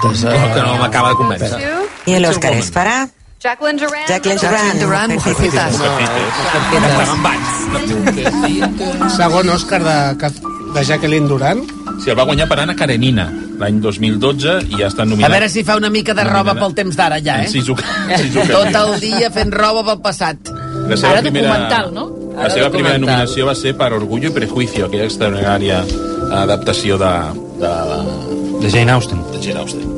No, que no m'acaba de convèncer. Y el Oscar es para Jacqueline Duran. Jacqueline Duran. Jacqueline Duran, Mujercitas. Segon Òscar de, de Jacqueline Duran. Sí, el va guanyar per Anna Karenina l'any 2012 i ja està A nominat. veure si fa una mica de roba pel temps d'ara, ja, en eh? sis, oca- sis Tot ocasions. el dia fent roba pel passat. La seva Ara documental, no? La seva documental. primera nominació va ser per Orgullo i Prejuicio, aquella extraordinària adaptació de, de, De Jane Austen. de Jane Austen.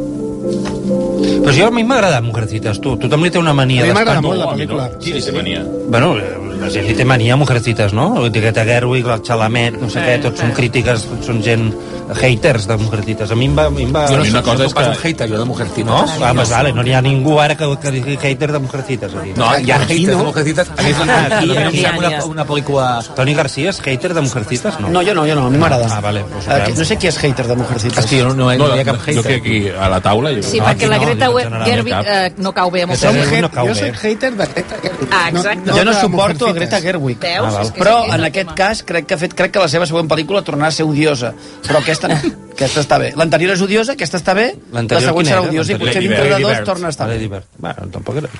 Però si a mi m'ha agradat Mujercitas, tu. Tothom li té una A mania mi m'agrada d'espanto. molt la a mi pel·lícula. No. Sí, sí, sí. Mania. Bueno, la gent li té mania a Mujercitas, no? Vull dir que té Gerwig, el Chalamet, no sé què, tots són crítiques, són gent haters de Mujercitas. A mi em va... A mi em va... Jo no una cosa és que... hater, jo, de Mujercitas. No? Ah, pues vale, no n'hi ha ningú ara que, que digui hater de Mujercitas. Aquí. No, hi ha haters no? de Mujercitas. A mi és Aquí, em aquí, sembla aquí. una, una pel·lícula... Toni García és hater de Mujercitas? No. No, jo no, jo no, a mi m'agrada. Ah, vale, pues ho Eh, veiem. no sé qui és hater de Mujercitas. És que jo no, no, no No, hi la, ha cap jo hater. crec que aquí a la taula... Jo... Sí, No, perquè aquí la no, Greta jo generalment Gerwig cap. eh, no cau bé amb el Que seu té Som Gerwig no hate- cau jo bé. soc hater de Greta Gerwig. Ah, exacte. Jo no de suporto a Greta Mujercitas. Gerwig. Veus? Ah, val. És que Però sí, és en el aquest tema. cas crec que ha fet crec que la seva següent pel·lícula tornarà a ser odiosa. Però aquesta, no. aquesta està bé. L'anterior és odiosa, aquesta està bé, la L'anterior següent quina serà era? odiosa i L'anterior potser Lady dintre Bird. de dos Lady torna a estar bé. Lady Bird. Bueno, tampoc era...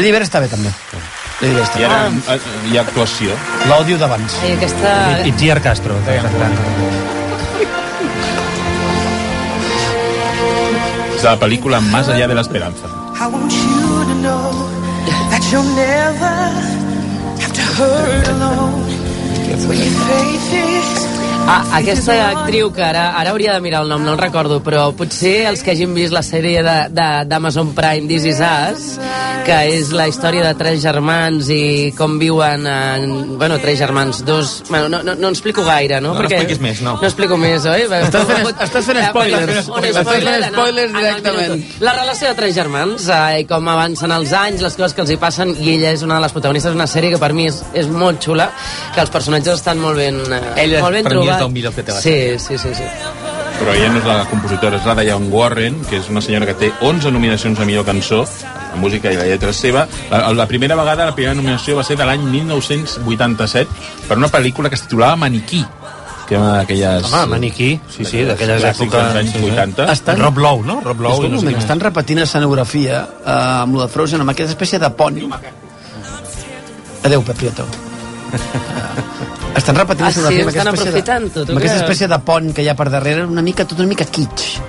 Lady Bird està bé també. Lady Bird I està ara bé. eh, hi ha actuació. L'òdio d'abans. Ai, aquesta... Ah. I Tier Castro. exacte. És la pel·lícula Más allá de la esperanza. I want you to know that you'll never have to hurt alone. When your faith is Ah, aquesta actriu que ara, ara hauria de mirar el nom, no el recordo, però potser els que hagin vist la sèrie de- de- d'Amazon Prime This Is Us, que és la història de tres germans i com viuen en... Bueno, tres germans, dos... Bueno, no, no, no en explico gaire, no? No, no expliquis més, no. No explico més, oi? Estàs fent- estàs fent Eh, spoilers. un Estàs fent spoiler en- spoilers en el directament. minut la relació de tres germans eh, i com avancen els anys, les coses que els hi passen i ella és una de les protagonistes d'una sèrie que per mi és, és molt xula, que els personatges estan molt ben, eh, Ella, molt ben per mi, és trobats. del millor que té la sí, sí, sí, sí. Però ella no és la compositora, és la Diane Warren, que és una senyora que té 11 nominacions a millor cançó, la música i la lletra és seva. La, la primera vegada, la primera nominació va ser de l'any 1987 per una pel·lícula que es titulava Maniquí, que era una d'aquelles... Home, Maniquí, sí, sí, d'aquelles clàssics èpoques... dels anys 80. Estan- Rob Lowe, no? Rob És Lowe. que un no sé moment, què. estan repetint escenografia eh, amb lo de Frozen, amb aquesta espècie de pont. Adéu, Pep Prieto. Eh, estan repetint Ah, escenografia sí, amb aquesta estan espècie aprofitant de, tot, o amb aquesta què? espècie de pont que hi ha per darrere, una mica, tot una mica kitsch.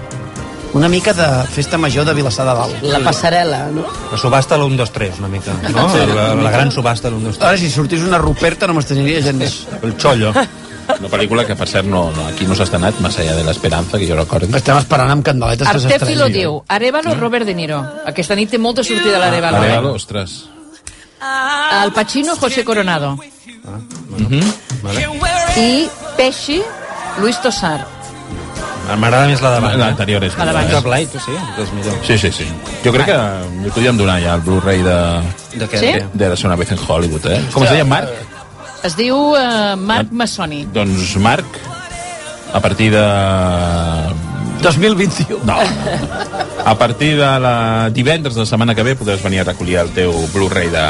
Una mica de festa major de Vilassar de Dalt. La passarel·la, no? La subhasta l'1, 2, 3, una mica, no? La, la gran subhasta l'1, 2, 3. Ara, si sortís una ruperta, no m'estranyaria gent més. El xollo. Una pel·lícula que, per cert, no, no, aquí no s'ha estrenat, Más allá de la esperanza, que jo recordi. Estem esperant amb candeletes Ah. que Artefilo s'estreni. diu, Arevalo, Mm. Robert De Niro. Aquesta nit té molta sortida l'Arevalo. Arevalo, ostres. El Pacino, José Coronado. Mhm. Vale. I Pesci, Luis Tosar. M'agrada més la de Blanc. L'anterior és... eh? A la La banca. de Blai, tu sí, és millor. Sí, sí, sí. Jo crec que li podríem donar ja el Blu-ray de, De què? Sí? de què? de Ser una vez en Hollywood, eh? Com es deia, Marc? Es diu eh, Marc Massoni. Doncs Marc, a partir de... 2021. No. A partir de la divendres de la setmana que ve podràs venir a recollir el teu Blu-ray de...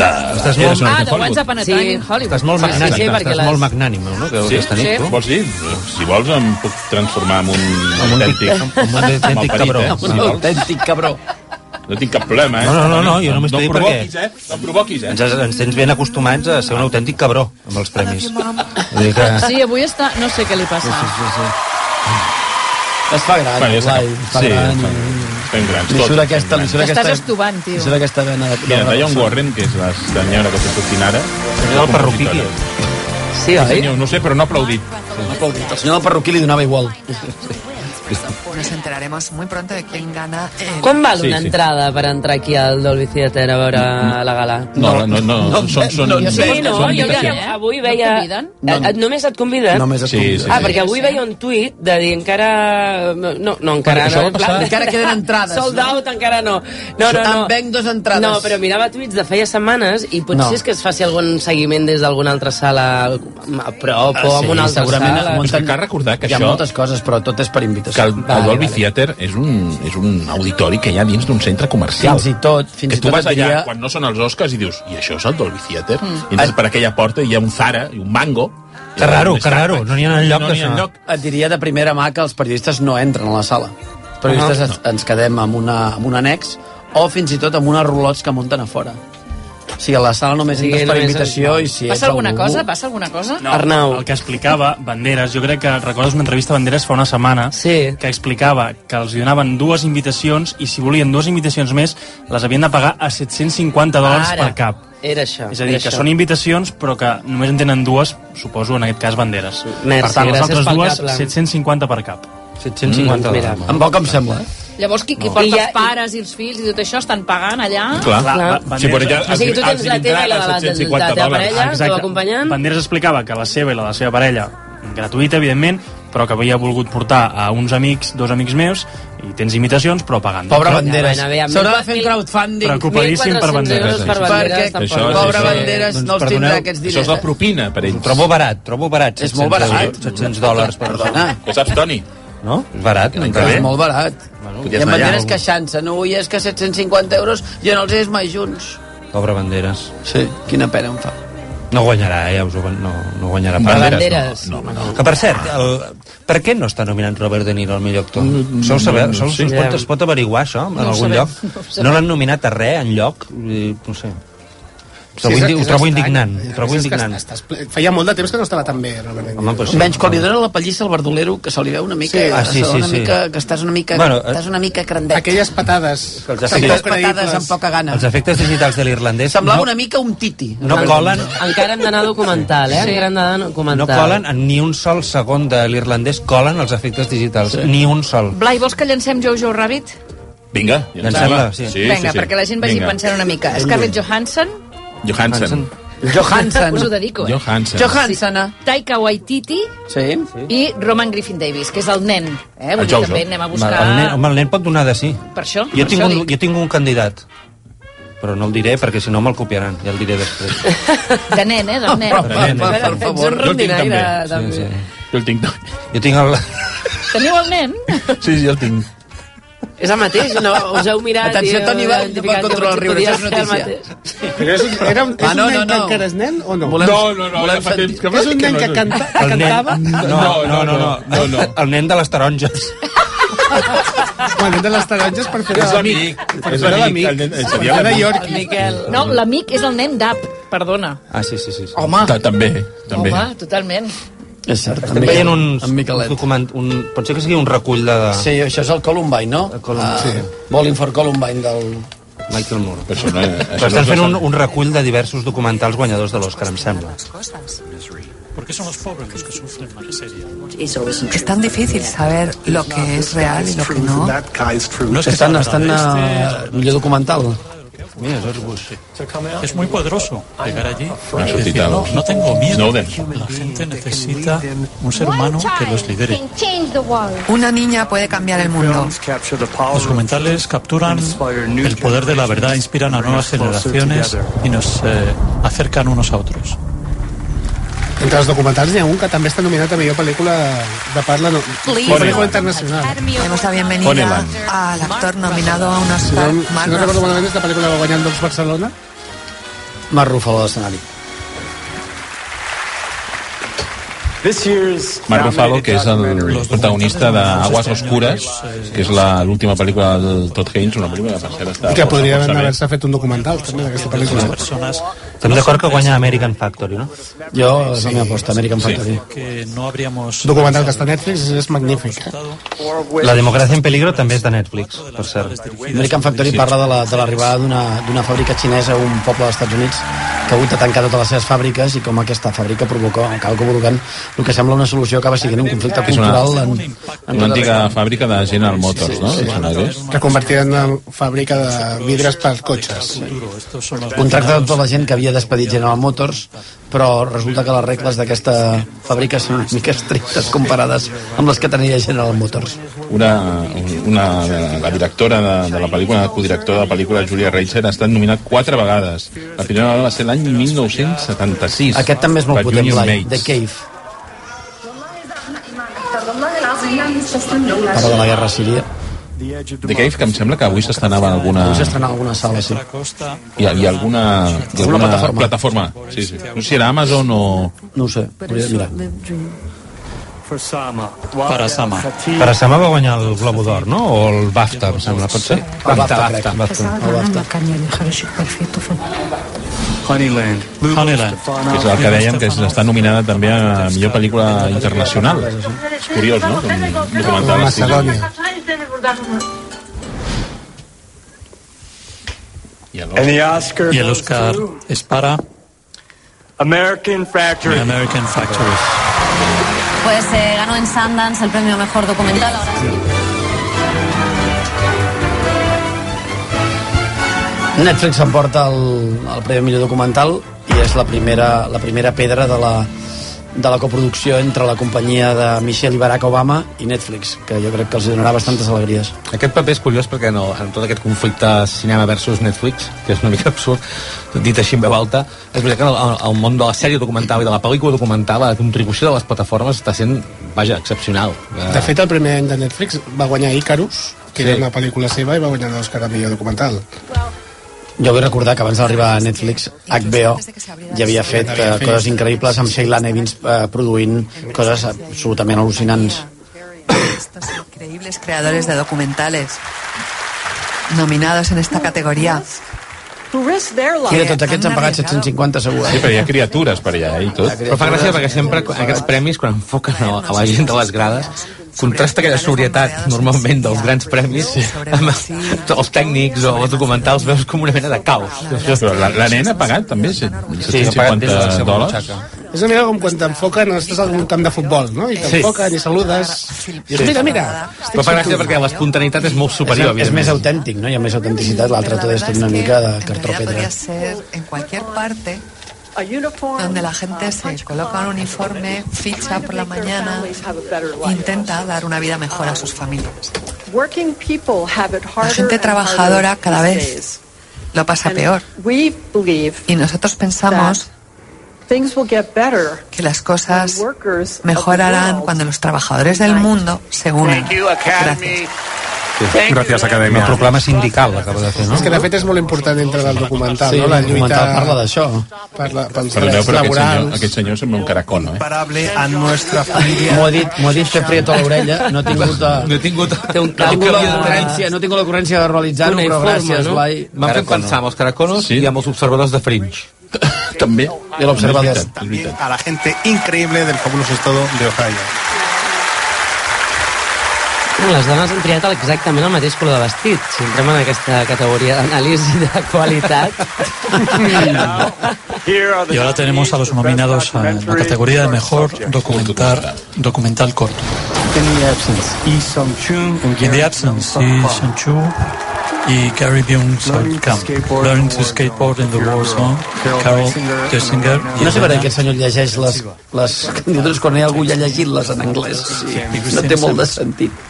de... Estàs Era molt- una Ah, mica de Once Upon a Time Sí. in Hollywood. Estàs molt Sí, sí, magnànim, sí, perquè estàs les- molt magnànim, no? Que, Sí? Aquesta nit, tu. Vols dir? Si vols em puc transformar en un, Amb un tic- amb un autèntic malparit, cabró. Eh? Amb Si Un vols. autèntic cabró. No tinc cap problema, eh? No, no, no, no, jo només no t'ho dic provoquis, perquè- eh? No em provoquis, eh? Ens, ens tens ben acostumats a ser un autèntic cabró amb els premis. Vull dir que... Sí, avui està... No sé què li passa. Es fa gran, Bueno, ja està. Blai, es fa Sí, gran. fan- fan grans. Li tots surt fan aquesta, li grans. surt T'estàs aquesta... estovant, tio. Li surt aquesta vena de... Mira, Diane Warren, que és la senyora que s'ha sortint ara. És el perruquí, qui és? Sí, oi? Senyor, no ho sé, però no ha aplaudit. El senyor del perruquí li donava igual. Nos enteraremos muy pronto de quién gana. eh, Com val Sí, una sí. Mm. entrada per entrar aquí al Dolby Theatre a veure la gala? No, no, no, no, són, són, no, Sí, no, són jo que invitacions. avui No et veia... conviden? Eh, eh, Només et conviden? Només es Sí, convida. sí, Ah, sí. perquè avui veia un tuit de dir encara... No, no encara Perquè no. això va en plan- passar- Encara queden entrades. Sold out encara no. No, no, no. En venc dos entrades. No, però mirava tuits de feia setmanes i potser No. és que es faci algun seguiment des d'alguna altra sala a prop Ah, o sí, amb una altra segurament sala. es munta- És que cal recordar que Hi ha això- moltes coses, però tot és per Que invitació. el, el Dolby Theater és un, és un auditori que hi ha dins d'un centre comercial. Fins i tot, fins que i tu tot vas et allà, diria- quan no són els Oscars, i dius, i això és el Dolby Theater? Mm. I entres per aquella porta i hi ha un Zara i un Mango, Que raro, que raro, no n'hi ha enlloc No n'hi ha d'això. enlloc. Et diria de primera mà que els periodistes no entren a la sala. Els periodistes ens, ens quedem amb, una, amb un annex o fins i tot amb unes rulots que munten a fora. O sigui, a la sala només O sigui, entres per només- invitació i si Passa ets alguna algú... cosa? Passa alguna cosa? No, Arnau. el que explicava Banderes, jo crec que recordes una entrevista a Banderes fa una setmana Sí. que explicava que els donaven dues invitacions i si volien dues invitacions més les havien de pagar a 750 dòlars per cap. Era això. És a dir, era que Ah, això. són invitacions però que només en tenen dues, suposo en aquest cas Banderes. Merci, per tant, les gràcies altres pel dues, Kaplan. 750 per cap. 750 mira. dòlars. Amb poc em sembla. Llavors, qui, qui I porta ja- els pares i els fills i tot això estan pagant allà? Ah, Clar. Clar. Ba- Sí, però ja O sigui, tu els- tens la els teva i la de la- vindran a de la 750 teva dòlars. parella. el teu acompanyant. Banderes explicava que la seva i la de la seva parella mm, gratuïta, evidentment, però que havia volgut portar a uns amics, dos amics meus, i tens imitacions, però pagant. Pobre Però- Banderes. bueno, aviam, S'haurà mil- de fer mil- un crowdfunding Preocupadíssim per 1.400 Banderes. euros per perquè Banderes. Això tampoc. és- pobre sí, sí. Banderes Doncs no els tindrà perdoneu, aquests Això diners. és la propina per ells. Ho trobo barat, trobo barat. És molt barat. euros, 700 dòlars. Per... Perdona. Ho saps, Toni? No? És barat. No, Està bé. És molt barat. Bueno, podries I en anar allà. banderes queixant-se. No, ui, és que 750 euros jo no els he vist mai junts. Pobre Banderes. Sí, quina pena em fa. No guanyarà, eh? ja us ho, no, no guanyarà Banderes. No, no, home, No. Que, per cert, el, per què no està nominat Robert De Niro al millor actor? Mm, Sou saber, no, no, sé. es, pot, es pot averiguar, això, en ho algun sabem, lloc? no ho No, sabem. l'han nominat a res, en lloc? Eh, No sé. Ho trobo, és- indi és ho trobo estrany. indignant. A Ho trobo més, és que indignant. estàs ple- Feia molt de temps que no estava tan bé, Robert De Niro. Home, pues, sí. Veig quan li dona la pallissa al verdolero, que se li veu una mica... Sí. Ah, sí, sí, una sí. Mica, que estàs una mica, Bueno, bueno, eh, estàs una mica grandet. Aquelles patades. Que els ha fet- Aquelles Aquelles patades amb poca gana. Els efectes digitals de l'irlandès Semblava no, una mica un titi. no colen Encara hem d'anar a documental, eh? Encara hem d'anar a no documental. colen en ni un sol segon de l'irlandès colen els efectes digitals, ni un sol Blai, vols que llancem Jojo Rabbit? Vinga, Llancem-la, llancem-la. sí. Vinga, perquè la gent vagi pensant una mica. Scarlett Johansson, Johansen. Johansson. us ho dedico, eh? Johansen. Johansson. Taika Waititi Sí. sí. i Roman Griffin Davis, que és el nen. Eh? Ah, Vull El dir, Jojo. també anem a buscar... el nen, home, el nen pot donar de sí Per això, jo per tinc, això un, dic. jo tinc un candidat però no el diré perquè si no me'l copiaran ja el diré després De nen, eh? Del nen. Per, per, per favor. Jo el tinc també. sí, sí. Jo el tinc. jo tinc el... Teniu el nen? Sí, sí, el tinc. És el mateix, no? Us heu mirat... Atenció, i heu Toni, va, identificat no pot que controlar el riure, podia això és ser el notícia. mateix. Però és, era un, és Ah, no, un nen no, que no. encara és nen o no? Volem- No, no, no, volem ja fa sentir- temps que És un nen que, no. canta, que el nen... cantava? No, no, no, no, no, no. el nen de les taronges Bueno, de les taronges per fer És de l'amic. Per És fer de l'amic. l'amic. El nen- Per seria fer de l'amic. York. Miquel. No, l'amic és el nen d'App, perdona. ah, sí, sí, sí, sí. Home, Ta- També, també. home, totalment. És cert. estem veient uns, En uns Miquelet. document, un, potser que sigui un recull de, Sí, això és el Columbine, no? El Columbine, sí. Bowling for Columbine del... Michael Moore Però això no, Però estan fent un, un recull de diversos documentals guanyadors de l'Òscar, em sembla. Es tan difícil saber lo que es real y lo que no. No, és que estan, estan ah, uh, millor documental. Mira, George Bush. És muy poderoso llegar allí. Ha sortit el... No tengo Snowden. La gente necesita un ser humano que los lidere. Una niña puede cambiar el mundo. Los documentales capturan el poder de la verdad, inspiran a nuevas generaciones y nos eh, acercan unos a otros. Entre els documentals n'hi ha un que també està nominat a millor pel·lícula de parla no, pel·lícula internacional. Demos la bienvenida Honeyland. al actor nominado a un Si Oscar, no, si Mark no Ruffalo. recordo malament és la pel·lícula que va guanyar en Docs Barcelona. Marc Ruffalo a l'escenari. Marc Ruffalo, que és el protagonista de Aguas Oscures, que és la- l'última pel·lícula del Todd Haynes, una pel·lícula que per cert està... I que podria força bé. haver-se fet un documental també d'aquesta pel·lícula. Personas Estem d'acord que guanya American Factory, no? Jo, és la meva aposta, American Factory. que no habríamos... Un documental que està a Netflix és, és magnífic. eh? La democràcia en peligro també és de Netflix, per cert. American Factory parla de la- de l'arribada la, d'una d'una fàbrica xinesa a un poble dels Estats Units que ha hagut de tancar totes les seves fàbriques i com aquesta fàbrica provoca, acaba provocant el que sembla una solució acaba sent un conflicte És una- cultural en, en Una antiga fàbrica de General Motors, no? Que convertirà en una fàbrica de Eh, vidres per cotxes. contracte de tota la gent que havia despedit General Motors però resulta que les regles d'aquesta fàbrica són una mica estrictes comparades amb les que tenia General Motors Una, una, la directora de, de la pel·lícula, la codirectora de la pel·lícula, Julia Reitzer, ha estat nominat quatre vegades. La primera vegada va ser l'any 1976. aquest també és molt per potent Union Blai, The Mates. Cave parla de la guerra a síria The Cave, que em sembla que avui s'estrenava en alguna... Avui s'estrenava alguna sala, sí. I, i alguna, i Alguna plataforma. plataforma. Sí, sí. No sé si era Amazon o... No ho sé, hauria de mirar. Parasama. Parasama va guanyar el Globo d'Or, no? O el BAFTA, em sembla, pot ser? El BAFTA, crec. BAFTA. Estaba ganando Kanye y dejar ese perfecto. Honeyland. Honeyland. Que és el que dèiem, que és- està nominada també a millor pel·lícula internacional. És curiós, no? Com documental. Macedònia. Y el Oscar es para American Factory. American Factory. Pues eh, ganó en Sundance el premio mejor documental. Ahora Netflix s'emporta el, el Premi Millor Documental i és la primera, la primera pedra de la, de la coproducció entre la companyia de Michelle i Barack Obama i Netflix, que jo crec que els donarà bastantes alegries. Aquest paper és curiós perquè no, en tot aquest conflicte cinema versus Netflix, que és una mica absurd, dit així en veu alta, és veritat que el, el món de la sèrie documental i de la pel·lícula documental, la contribució de les plataformes està sent, vaja, excepcional. Eh, De fet, el primer any de Netflix va guanyar Icarus, que Sí. era una pel·lícula seva, i va guanyar l'Òscar a millor documental. Jo vull recordar que abans d'arribar a Netflix, HBO ja havia fet eh, coses increïbles amb Sheila Nevins eh, produint coses absolutament al·lucinants. Estos increíbles creadores de documentales nominados en esta categoría. I de tots aquests han pagat 750 segur. eh? Sí, però hi ha criatures per allà, eh, i tot. Però fa gràcia perquè sempre quan- aquests premis, quan enfoquen a, a la gent de les grades, contrasta aquella sobrietat normalment dels grans premis amb els tècnics o els documentals veus com una mena de caos Però la, la nena ha pagat també set- Sí, ha pagat des de la 750 seva dòlars. És una mica com quan t'enfoquen, estàs en un camp de futbol, no? I t'enfoquen i saludes. I dius, Sí. mira, mira. Però fa gràcia perquè l'espontaneïtat és molt superior. és, és més autèntic, no? Hi ha més autenticitat, l'altre tot és tot una mica de cartró pedra. Podría ser en cualquier parte donde la gente se coloca un uniforme, ficha por la mañana, intenta dar una vida mejor a sus familias. La gente trabajadora cada vez Lo pasa peor. Y nosotros pensamos que las cosas mejorarán cuando los trabajadores del mundo se unan. Gracias. Gràcies, Acadèmia. Una proclama sindical acaba de fer, no? És que de fet és molt important entre del documental, Sí, no? La el lluita... documental parla d'això. Parla, pels Perdoneu, drets però aquest senyor, laborals... aquest senyor sembla un caracol, eh? Parable a nuestra familia. M'ho ha dit, m'ho ha dit fer fred a l'orella, no he tingut... eh, No he tingut... Té un Una càlcul mica la de- ocurrència, no tinc la ocurrència de realitzar-ho, però gràcies, no? Blai. M'han fet pensar en els caraconos sí. i amb els observadors de Fringe. També. I l'observador. También a la gente increíble del fabuloso estado de Ohio. Bueno, Les dones han triat exactament el mateix color de vestit. Si entrem en aquesta categoria d'anàlisi de qualitat... Y ahora tenemos a los nominados a la categoría de mejor documental, documental corto. In the absence, Lee Sung Chun and In the Gary Absence, Byung-Sun y Park. Sun Chu y Gary Byung-Sun Kang. Learning to Skateboard in the War Zone, Carol Jessinger y No sé per què Elena aquest senyor llegeix les, les candidatures quan hi ha algú ja llegit-les en anglès. Sí, no té molt de sentit.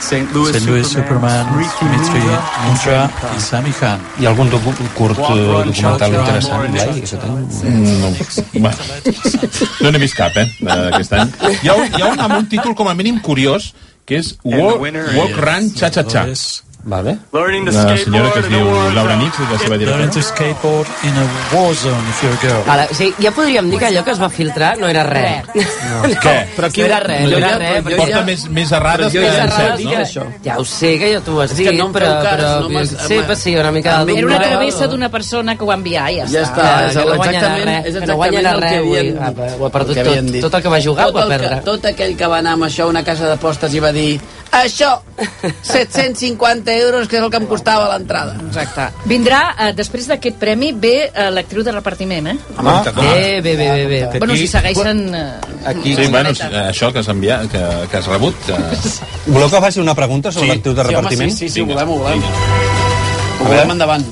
St. St. Louis Superman, Dimitri Mundra y Sami Khan. Hi ha algun docu curt eh, documental interessant, Blai? Que tenim? No, bueno, no n'he vist cap, eh, d'aquest any. Hi ha, un- hi ha un, amb un títol com a mínim curiós, que és Walk, Walk Run Cha Cha Cha. Vale. Una senyora que es diu Laura Nix, és la seva Learning directora. to Skateboard in a War Zone if you're a girl. Ara, sí, ja podríem dir que allò que es va filtrar no era res. No. Què? Però aquí... No era res, no era res. perquè Porta ja- més, més errades que Més encerts, errades no? que- Ja ho sé, que ja tu ho has És dit, que no em però... feu cas, però no m'has- sí, però sí, una mica... del Era una documental. travessa d'una persona que ho va enviar, ja, Ja està, és que no exactament- guanyarà és res, que no exactament guanyarà el que res avui. dient. Ah, Ho ha perdut El que havien tot. dit. Tot el que va jugar ho tot, el va que, perdre. tot aquell que va anar amb això a una casa d'apostes i va dir això, 750 euros que és el que em costava l'entrada exacte Vindrà, eh, després d'aquest premi, ve eh, l'actriu de repartiment, eh? Ah, Bé, bé, bé, bé, bé. Aquí- Bueno, si segueixen... Eh, Aquí, sí, bueno, sí, això que has enviat, que, que has rebut... Que... Voleu que faci una pregunta sobre l'actiu de repartiment? sí, sí, ho volem, ho volem. Ho volem endavant.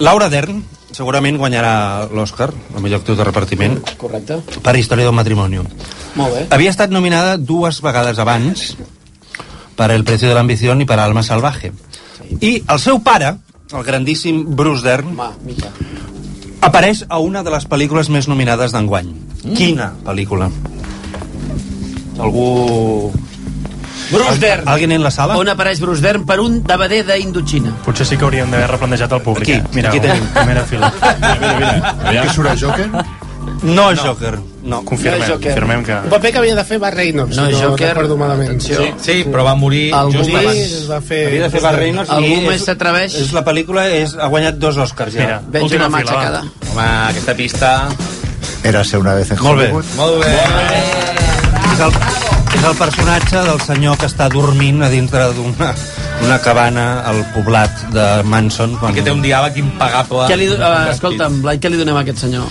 Laura Dern segurament guanyarà l'Oscar, el millor actiu de repartiment, Correcte. per Història del Matrimoni. Molt bé. Havia estat nominada dues vegades abans per El precio de la ambición i per Alma salvaje. I el seu pare, el grandíssim Bruce Dern, apareix a una de les pel·lícules més nominades d'enguany. Quina pel·lícula? Algú... Bruce Dern. Alguien en la sala? On apareix Bruce Dern per un davader d'Indochina. Potser sí que hauríem d'haver replantejat el públic. eh? Aquí, Mira, aquí aquí tenim. tenim. Primera fila. Aviam. Que surt a Joker? No és Joker. No, Confirmem, confirmem que... El paper que havia de fer va Reynolds, No, no, si no Joker, recordo malament. Sí, sí, però va morir Algú just més abans. es va fer- Havia de fer Val Reynolds. Algú i més és- s'atreveix? És la pel·lícula, és, ha guanyat dos Oscars ja. Mira, Veig última una fila. matxacada. Home, aquesta pista... Érase una vez en Molt bé. Hollywood. Molt bé. És el, és el personatge del senyor que està dormint a dintre d'una una cabana al poblat de Manson. Quan... Que té un diàleg impagable. Què li, do- eh, escolta'm, Blai, què li donem a aquest senyor?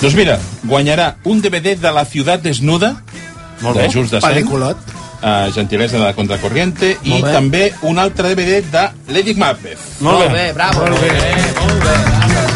Doncs mira, guanyarà un DVD de La ciutat desnuda, Molt de bé. Just de Peliculot. Uh, gentilesa de la Contracorriente i Molt bé. també un altre DVD de Lady Macbeth. Molt bé, bravo. Molt bé.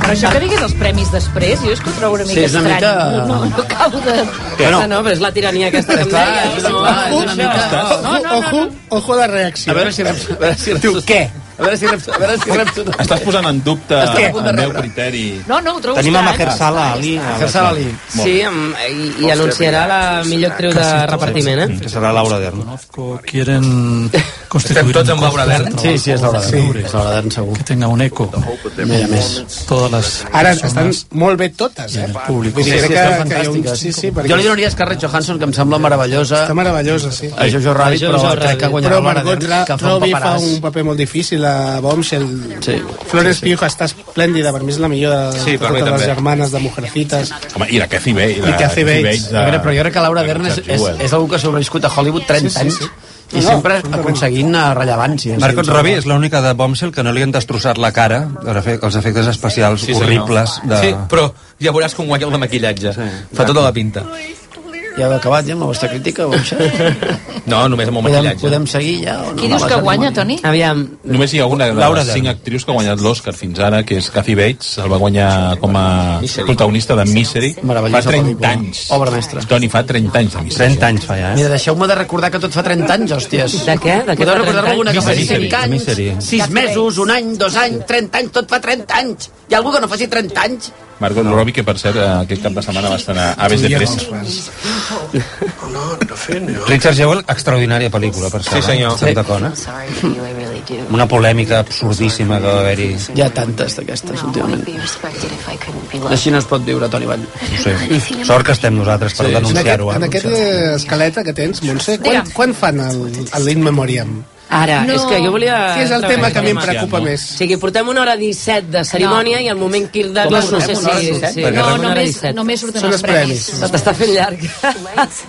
Però això que diguis els premis després, jo és que ho trobo una mica Sí, és una estrany. mica- No, no, no acabo de... Que no. no, però és la tirania aquesta que em deies. No, Ojo, no, no, no. ojo, ojo a la reacció. A veure si reps... A veure si reps... Tu, què? A veure si reps... A veure si reps... Estàs posant en dubte Estic a el punt de meu rebre. criteri. No, no, ho trobo Tenim a estrany. Mahershala Està, Ali. està. Mahershala Ali. Sí, amb, i, i anunciarà la millor actriu de repartiment, eh? Que serà Laura Dern. Conozco, quieren constituir tots amb un Laura grupo de Dern? trabajo Sí, sí, és Laura Dern, seguro. és Laura Dern, segur. Que tenga un eco. Mira, més. Todas las Ara estan personas molt bé totes, eh? del público. Vull dir que, estan que hi ha un... fantàstiques. Sí, sí, perquè... Jo li donaria a Scarlett Johansson, que em sembla meravellosa. Està meravellosa, sí. A Jojo Rabbit, A però Jojo crec que Rabbit. guanyarà Però Laura Margot Dern, que fa un Robbie fa paperàs. un paper molt difícil a Bombshell. Sí. Flores Pugh està esplèndida, per mi és la millor de, Sí, de per mi totes les també. germanes de Mujercitas. Home, i la Kathy Bates. I Kathy Bates. de- A veure, però jo crec que Laura Dern és, és, és algú que ha sobreviscut a Hollywood 30 Sí, sí, sí. anys i sempre aconseguint eh, rellevància. Margot Robbie és l'única de Bombshell que no li han destrossat la cara els efe- els efectes especials Sí, senyor. horribles de... Sí, però ja veuràs com guanya el de maquillatge. Sí, Fa tota la pinta. Ja heu acabat, ja, amb la vostra crítica? o això? No, només amb el podem, maquillatge. podem seguir ja? O no? Qui dius que guanya, Toni? Aviam. Només hi ha una de Laura les Dern. cinc actrius que ha guanyat l'Oscar fins ara, que és Kathy Bates, el va guanyar com a protagonista de Misery. Fa 30 anys. Obra mestra. Toni, fa 30 anys de Misery. 30 anys fa ja, Mira, deixeu-me de recordar que tot fa 30 anys, hòsties. De què? De què Podeu fa 30 recordar-me alguna que anys? faci Misery, 5 anys, Misery. 6 mesos, un any, 2 anys, 30 anys, tot fa 30 anys. Hi ha algú que no faci 30 anys? Margot Robbie, que per cert, eh, aquest cap de setmana va estrenar Aves de Pressa. Richard Jewell, extraordinària pel·lícula, per cert. Sí, senyor. Estem d'acord, eh? Una polèmica absurdíssima que va haver-hi. Hi ha tantes d'aquestes, últimament. Així no es pot viure, Toni Vall. No sé. Sort que estem nosaltres per Sí. En aquest, denunciar-ho. eh? en aquest eh, escaleta que tens, Montse, quan, quan fan el, el In Memoriam? Ara, No. és que jo volia... Sí, és el treure tema aquest que a mi em tema. preocupa més. O sigui, portem una hora 17 de cerimònia i al moment que de... Com No, portem sé una hora si... 17? sí, Perquè no, realment- només, només surten Són els els premis. premis. Se t'està fent llarg.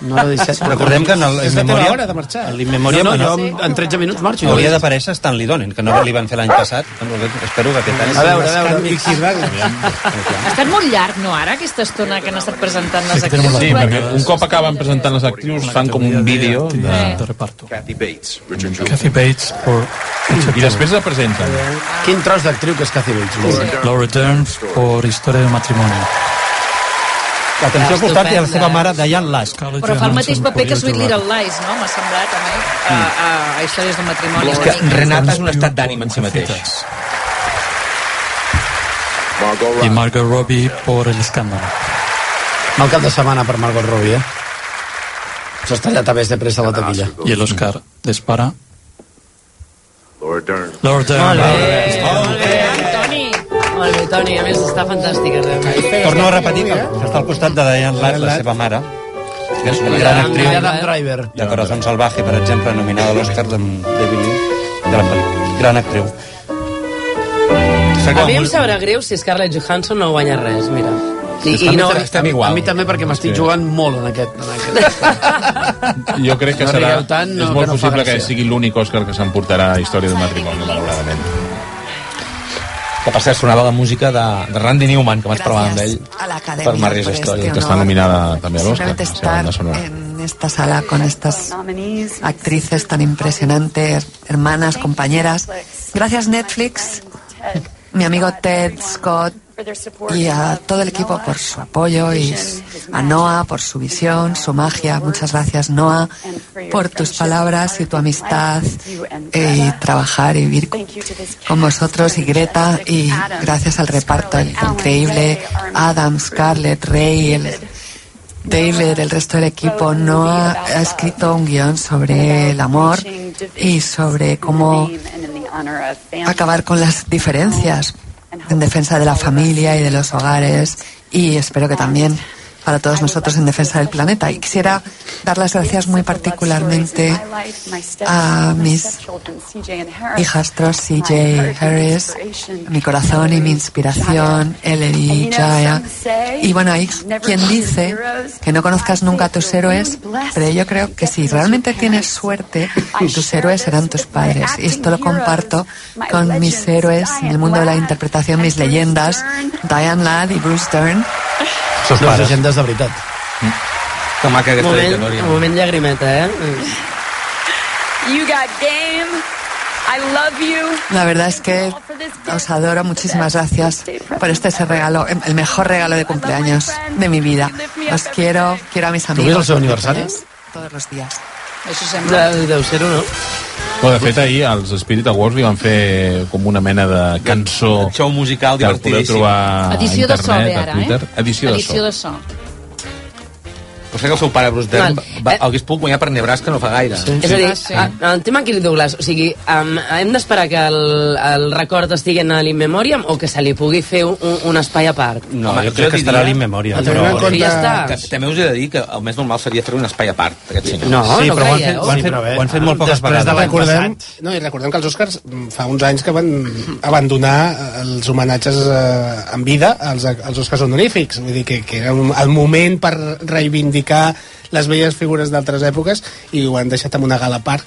No, 17. Recordem que en el És In la teva Memoriam- hora de marxar. en l'In Memoriam No, no, no, jo en 13 minuts marxo. hauria d'aparèixer Stanley Donen, que no li van fer l'any passat. Espero que aquest any... A veure, a veure. Ha estat molt llarg, no, ara, aquesta estona que han estat presentant les Sí, actrius? perquè un cop acaben presentant les actrius, fan com un vídeo de... Kathy Bates, Richard Jewell. Kathy Bates por Richard I després la presenten. Quin tros d'actriu que és Cathy Bates. Jewell. Laura Dern por Història del matrimoni. Atenció al costat hi ha la eh? seva mare, Diane Lash. Però fa el mateix paper que Sweet Little Lies, no? M'ha semblat, a mi, a, a, a Històries del matrimoni. És una que mica. Renata és un estat d'ànim en si mateix. I Margot Robbie por El escàndalo. Mal cap de setmana per Margot Robbie, eh? S'ha estallat a més de pressa a la taquilla. I l'Òscar dispara. Laura Dern. Laura Dern. Eh, Toni! Molt bé, Toni, a més està fantàstica, realment. Torno a repetir que està al costat de Diane Lash, la seva mare. Que és una gran actriu. Adam Driver. De Corazón Salvaje, per exemple, nominada a l'Òscar de, de Billy. Gran pel·lícula. Gran actriu. A mi em sabrà greu si Scarlett Johansson no guanya res, mira. I, És que i a mi no, també- A mi també, perquè m'estic jugant molt en aquest. En aquest. Jo crec que No serà... rigueu tant, no, és que molt no fa possible que gràcia. sigui l'únic Òscar que s'emportarà a Història del matrimoni, malauradament. Que per cert sonava la música de, de Randy Newman, que vaig parlar amb ell. a la Per academia Marriage por Story, este que està honor. nominada també a l'Òscar, Simplemente la seva banda estar sonora. en esta sala con estas actrices tan impresionantes, hermanas, compañeras. Gracias Netflix, mi amigo Ted Scott y a todo el equipo por su apoyo y a Noah por su visión, su magia. Muchas gracias Noah por tus palabras y tu amistad eh, y trabajar y vivir con vosotros y Greta y gracias al reparto increíble Adam, Scarlett, Ray, el David, el resto del equipo, no ha, ha escrito un guión sobre el amor y sobre cómo acabar con las diferencias en defensa de la familia y de los hogares y espero que también para todos nosotros en defensa del planeta. Y quisiera dar las gracias muy particularmente Eh, a mis hijastros CJ Harris, mi corazón y mi inspiración, Eleni Jaya. Y bueno, hay quien dice que no conozcas nunca a tus héroes, pero yo creo que si realmente tienes suerte, tus héroes serán tus padres. Y esto lo comparto con mis héroes en el mundo de la interpretación, mis leyendas, Diane Ladd y Bruce Dern. Sos pares. Les legendes de veritat. Que maca aquesta moment, trajectòria. un moment llagrimeta, eh? You got game. I love you. La verdad es que os adoro. Muchísimas gracias por este ese regalo, el mejor regalo de cumpleaños de mi vida. Os quiero, quiero a mis amigos. el seu aniversari? Todos los días. Això sembla... Deu ser no? Bueno, de fet, ahir als Spirit Awards li van fer com una mena de cançó... Show musical que el podeu divertidíssim. trobar Edició a de so, internet, ve a ara, Twitter. eh? Edició, Edició de so. de so. Però sé que el seu pare, Bruce Dern, Val. va, el hagués pogut guanyar per Nebraska no fa gaire. Sí, És a Ah, dir, a- el tema Kirk Douglas, o sigui, um, hem d'esperar que el, el record estigui en l'Inmemoriam o que se li pugui fer un, un espai a part? No, Home, jo crec que estarà a l'Inmemoria. Tenint en compte- Ja està. Que, també us he de dir que el més normal seria fer un espai a part, aquest senyor. No, Sí, no però ho han creieu? fet- ho han fet, ho han fet molt poques Eh, Després de vegades. l'any passat... No, i recordem que els Oscars mm, fa uns anys que van abandonar eh, els homenatges eh, en vida als, als Oscars honorífics. Vull dir que, que era un, el moment per reivindicar les velles figures d'altres èpoques i ho han deixat amb una gala a part.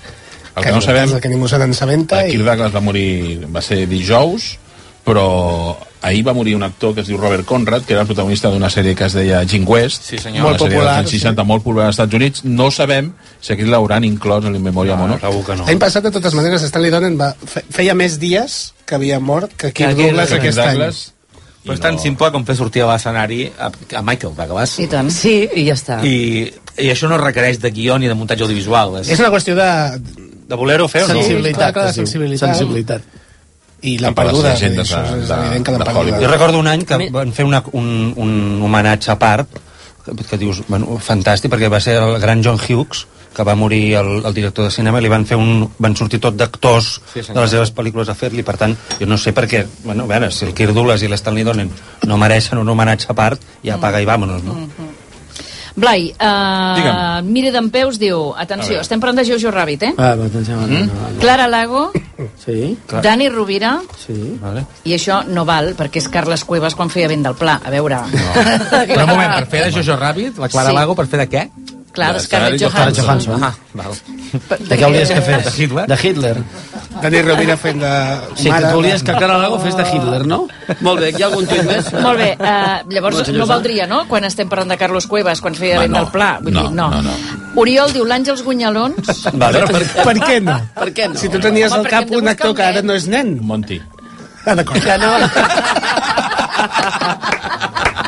El que no sabem, Que ningú se n'ensabenta. Kirk Douglas va morir, va ser dijous, però ahir va morir un actor que es diu Robert Conrad, que era el protagonista d'una sèrie que es deia Jim West, Sí, senyor. una Molt sèrie popular, dels anys 60, molt popular als Estats Units. No sabem si aquí l'hauran inclòs en l'Inmemoriam o no. Segur que L'any passat, de totes maneres, Stanley Donen va, fe- feia més dies que havia mort que Kirk Douglas aquest any. Però és tan simple com fer sortir a l'escenari a, a Michael Douglas. I tant. Sí, i ja està. I, I això no requereix de guió ni de muntatge audiovisual. És, És una qüestió de de voler-ho fer o no? sensibilitat. clar, de sensibilitat. sensibilitat. I l'han perduda. vull dir, de, això és evident que de, l'han de perduda. Hollywood. Jo recordo un any que van fer una, un, un homenatge a part, que, que dius, bueno, fantàstic, perquè va ser el gran John Hughes, que va morir el, el director de cinema, i li van fer un... van sortir tot d'actors Sí, sí, senyor. de les seves pel·lícules a fer-li, per tant, jo no sé per què, bueno, a veure, si el Kirk Douglas i l'Stanley Donen no mereixen un homenatge a part, ja Mm. paga i vámonos, no? Blai, uh, Digue'm. Mire d'en Peus diu... A Atenció, veure. estem parlant de Jojo Rabbit, eh? Ah, doncs, ja, mm? no, Clara Lago, Sí. Dani Rovira, Sí. Vale. i això no val, perquè és Carles Cuevas quan feia vent del pla. A veure... Però un moment, Per fer de Jojo Rabbit, la Clara Sí. Lago, per fer de què? Clar, Scarlett Johansson. Johansson. Eh, Ah, val. De què volies que fes? De Hitler? De Hitler. Dani Rovira fent de... Sí, que tu volies que Clara Lago fes de Hitler, no? Molt bé, hi ha algun tuit més? Molt bé, uh, llavors Molt no seriós, valdria, no?, quan estem parlant de Carlos Cuevas, quan feia Va, vent no. del pla. Vull No, dir, no. no, Oriol diu l'Àngels Gunyalons. Vale. Per, per què no? Per què no? Si tu tenies Home, al perquè cap hem de un actor que ara no és nen. Monti. Ah, d'acord. Que no.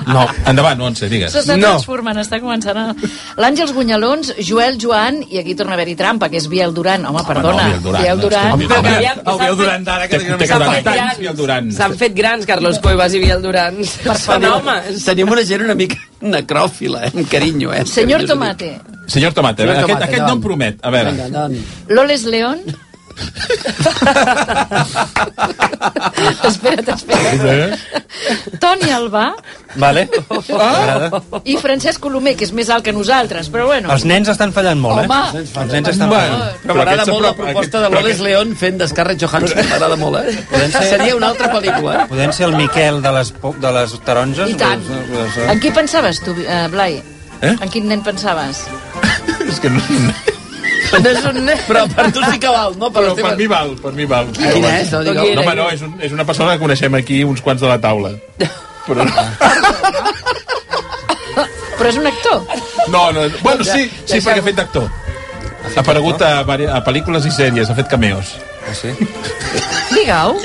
No, endavant, no en sé, digues. S'està no. transformant, està començant a... L'Àngels Gunyalons, Joel Joan, i aquí torna a haver-hi trampa, que és Biel Duran. Home, perdona. no, Biel Duran, Biel no, Duran. escolti, Home, Biel- El Biel Duran d'ara, que tenia Té més que anys. donar anys, Biel Duran. S'han fet grans Carlos Cuevas i Biel Duran. Són homes. Tenim una gent una mica necròfila, eh? Amb carinyo, eh? Senyor Tomate, Senyor Tomate, a veure, Senyor aquest, Tomate, aquest no em promet. A veure, Vinga, endavant. Loles León. espera't, espera't. Toni Albà Vale. M'agrada. Ah! i Francesc Colomer, que és més alt que nosaltres, però bueno. Els nens estan fallant molt, Home. eh? Els nens estan fallant. Però m'agrada aquests molt la s'apro- proposta de aquests- l'Oles León fent d'Escarret Johansson, m'agrada molt, eh? Podem ser- Seria una altra pel·lícula, eh? Podem ser el Miquel de les, po- de les taronges? I tant. Doncs, En qui pensaves tu, eh, Blai? Eh? En quin nen pensaves? és que no... No és un nen. Però per tu sí que val, no? Per, Però per mi val, per mi val. Quina és? No, No, digueu. home, no, és, un, és una persona que coneixem aquí uns quants de la taula. Però no. Però és un actor. No, no, bueno, sí, sí, Deixeu-ho. perquè ha fet d'actor. Ha aparegut a, vari- a pel·lícules i sèries, ha fet cameos. Ah, sí? Digue-ho.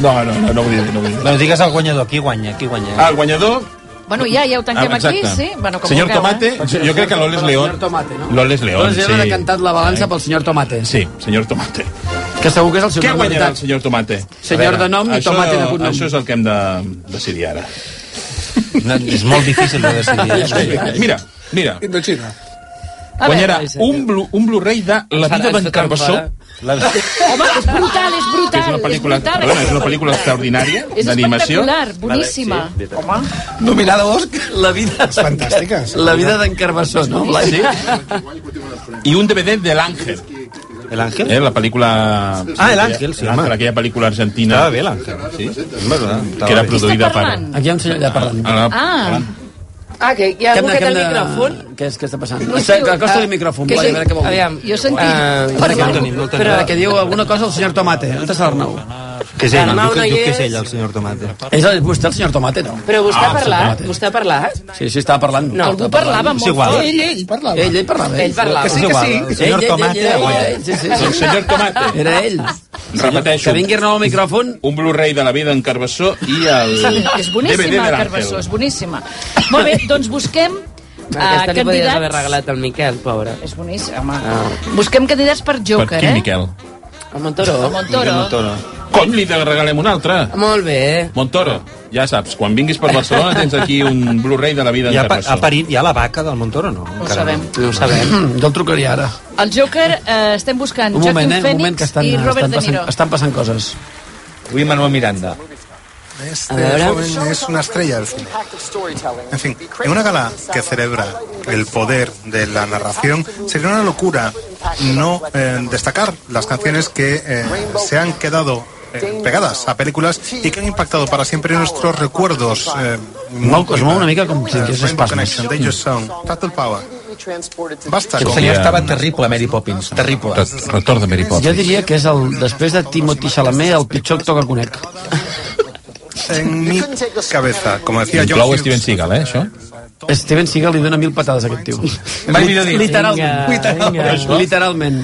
No, no, no, no vull dir, no vull dir. Doncs Bueno, digues el guanyador, qui guanya, qui guanya. Ah, el guanyador... Bueno, ja, ja ho tanquem Ah, aquí, exacte. sí? Bueno, com Senyor vulgueu, Tomate, eh? jo, jo crec que l'Oles León... Tomate, no? L'Oles León, Doncs era de sí. cantat la balança pel senyor Tomate. Sí, senyor Tomate. Que segur que és el seu Què nom de guanyarà veritat. el senyor Tomate? Senyor A veure, de nom i això- tomate de cognom. Això és el que hem de decidir ara. No, és molt difícil de decidir. És complicat. Mira, mira. Indochina. A Guanyarà un, blu, un Blu-ray de La vida d'en Carbassó. La de... Home, és brutal, és brutal. Que és una pel·lícula, és brutal, perdona, és una pel·lícula extraordinària És d'animació. espectacular, boníssima. Vale, sí, Home, Nominada a Òscar, la vida... És fantàstica. La vida d'en Carbassó, no? Sí. I un DVD de L'Àngel. El Ángel? Eh, la pel·lícula... Ah, El Ángel, sí, home. Aquella pel·lícula argentina. Estava bé, l'Àngel. Sí? Que era produïda per... Aquí hi ha un senyor allà parlant. Ah. Ah, que hi ha Què algú hem de- que té què hem el de- micròfon? Ah, Què és que està passant? No No sé, sé, acosta el ah, micròfon, que Blai, sí. a veure què vol dir. Ah, Aviam, jo sentí- Espera, Perdó. que el tenim, no el tenim. Espera, que diu alguna cosa el senyor Tomate. On està l'Arnau? Que és ell, Dalmau diu, que, no hi diu que és és. ell, el senyor Tomate. És el, vostè el senyor Tomate, no? Però vostè ha Ah, Ah, el senyor parlat? Tomate. Vostè ha parlat? Sí, sí, estava parlant. No, algú parlava molt fort. Ell, ell parlava. Ell, ell parlava. Ell parlava. Que sí, que sí. El senyor Tomate ha guanyat. El senyor Tomate. Era ell. Repeteixo. Que vingui Arnau al micròfon. Un Blu-ray de La vida d'en Carbassó i el Sí, és DVD de boníssima, l'Àngel. Carbassó, és boníssima. Molt bé, doncs busquem Ah, Aquesta eh, li podries haver candidats... regalat al Miquel, pobre. Ah. És boníssima, home. Busquem candidats per Joker, eh? A Montoro. A Montoro. Miquel Montoro. Com li te regalem un altre? Molt bé. Montoro, ja saps, quan vinguis per Barcelona tens aquí un Blu-ray de la vida Hi ha, d'en pa- Carbassó. ha, parit, hi ha la vaca del Montoro, no? No sabem. No ho sabem. Jo el trucaria ara. El Joker eh, estem buscant Un moment, Joaquin eh? Un moment, que Phoenix estan, i Robert estan, De passant, Niro. estan passant coses. Avui Manuel Miranda. Este A ver. joven es una estrella al cine. En fin, en una gala que celebra el poder de la narración, sería una locura no eh, destacar las canciones que eh, se han quedado eh, pegadas a películas y que han impactado para siempre nuestros recuerdos. Eh, Mou, es mou una mica com si tingués Rainbow espasmes. Connection, Dangerous Zone, Turtle Power. Basta. El con- senyor estava terrible, Mary Poppins. Terrible. Retorn de Mary Jo diria que és, el, després de Timothy Chalamet, el pitjor actor que conec. En mi cabeza, como decía John Inclou Hughes, Steven Seagal, eh, això? Steven Seagal li dona mil patades a aquest tio. Mai millor dit. Literalment. Vinga, Literalment. vinga. Literalment.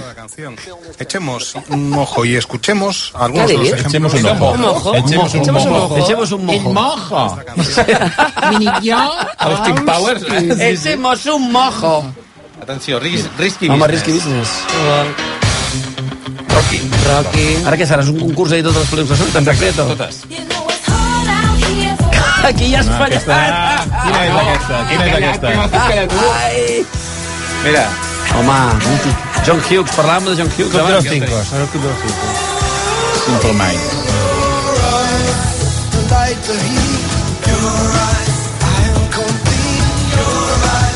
Echemos un ojo y escuchemos algunos de los Dale, ejemplos. echemos un ojo. Un ojo. Echemos un Echemos un ojo. ojo. Echemos un mojo. El mojo. Austin Powers. eh? Echemos un mojo. Atenció, ris, risky Home, business. Risky Business. Rocky. Rocky. Ara què serà? És un concurs de totes les pel·lícules que surten? Exacte, totes. Aquí ja has Ah, fallat. aquesta... Quina és aquesta? Quina és aquesta? Ai. Mira. Home, John Hughes, parlàvem de John Hughes. Club de abans. los Cinco. Són el Club de los Cinco. Simple Mind.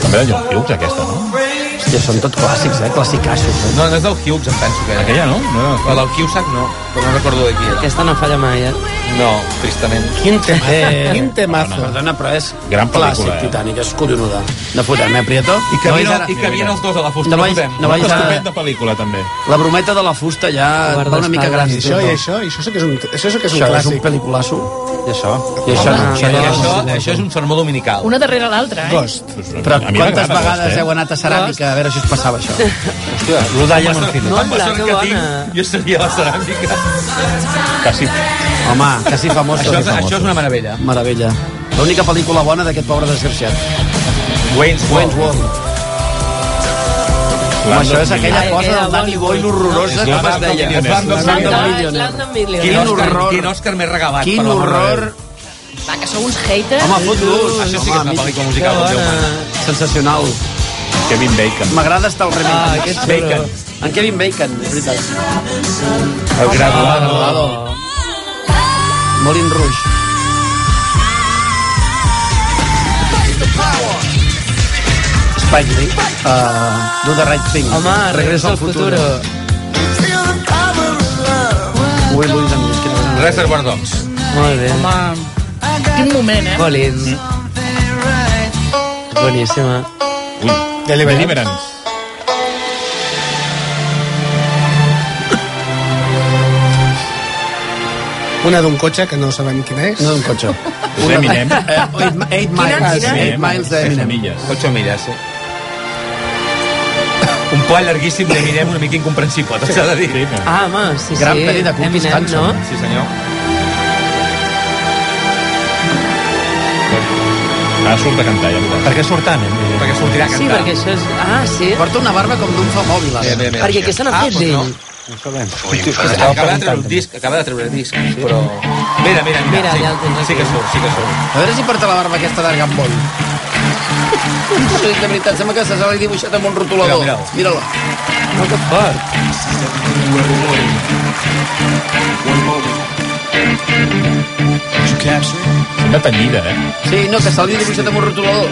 També de John Hughes, aquesta, no? Hòstia, són tot clàssics, eh? Classicaixos. Eh? No, no és del Hughes, em penso que era. Aquella, no? no. La del Cusack no, però no recordo de qui era. Aquesta no falla mai, eh? No, tristament. Quin temazo. Eh, Quin temazo. Perdona, però és Gran pel·lícula, clàssic eh? Titanic, és collonuda. No fotem, eh, Prieto? I cabien- vagis ara- i cabien els dos a la fusta, No no vaig, fotem. no vaig Una ara... estupenda pel·lícula, també. La brometa de la fusta ja et va una mica gran. I això, i això, i això sí que és un, això sí que és un Això és un clàssic. pel·liculasso. I això? I això, no, no, això, i no, això, no. això és un sermó Ah, dominical. Una darrere l'altra, eh? Ghost. Però mi quantes m'agrada Ghost, vegades eh? heu anat a ceràmica a veure si us passava això? Hòstia, Rodalla amb amb el filet. No, amb la Hola, sort que que bona. tinc, jo seria la ceràmica. Quasi... Home, quasi famosos. Això, és, Quasi això és una meravella. Meravella. L'única pel·lícula bona d'aquest pobre desgraciat. Wayne's World. Wayne's World. Home, això és aquella cosa del Danny Boyle horrorosa que es deia. Slumdog Millionaire. Millionaire. Quin horror. Quin Òscar més regalat. Quin horror. Va, que sou uns haters. Home, fot-los. Això sí que és una pel·lícula musical. Home, Déu meu. Sensacional. Kevin Bacon. M'agrada estar al remei. Ah, aquest Bacon. En Kevin Bacon, és veritat. El graduado. Molin Rouge. Spike Lee. Uh, do the right thing. Home, Regreso al futuro. Ui, Luis, amb quina cosa. Reservoir Dogs. Molt bé. Home, quin moment, eh? Colin. Mm. Boníssima. Ui. Deliverance. Deliverance. Una d'un cotxe que no sabem quina és. No d'un cotxe. És Eminem. Eh, oh, eight, eight miles. eh, Eight miles d'Eminem. milles. 8 milles, sí. Un pla llarguíssim d'Eminem una mica incomprensible, tot s'ha de dir. Ah, home, sí, Gran sí. pel·li de Curtis Eminem, Hanson. No? Sí, senyor. Ara surt a cantar, ja. Per què surt tant, Eminem? Perquè sortirà a Sí, cantar. perquè això és... Ah, sí? Porta una barba com d'un famòbil. Bé, bé, bé. Perquè què se n'ha Ah, fet doncs no. d'ell? No sabem. Hosti, és que estava acaba de treure preguntant. el disc, acaba de treure el disc, però... Mira, mira, mira, Mira, sí, ja el tens sí que surt, sí que surt. A veure si porta la barba aquesta d'argamboll. Sí, de veritat, sembla que se l'ha dibuixat amb un rotulador. Mira, Mira-lo. No, que fort. Sembla tenyida, eh? Sí, no, que se l'ha dibuixat amb un rotulador.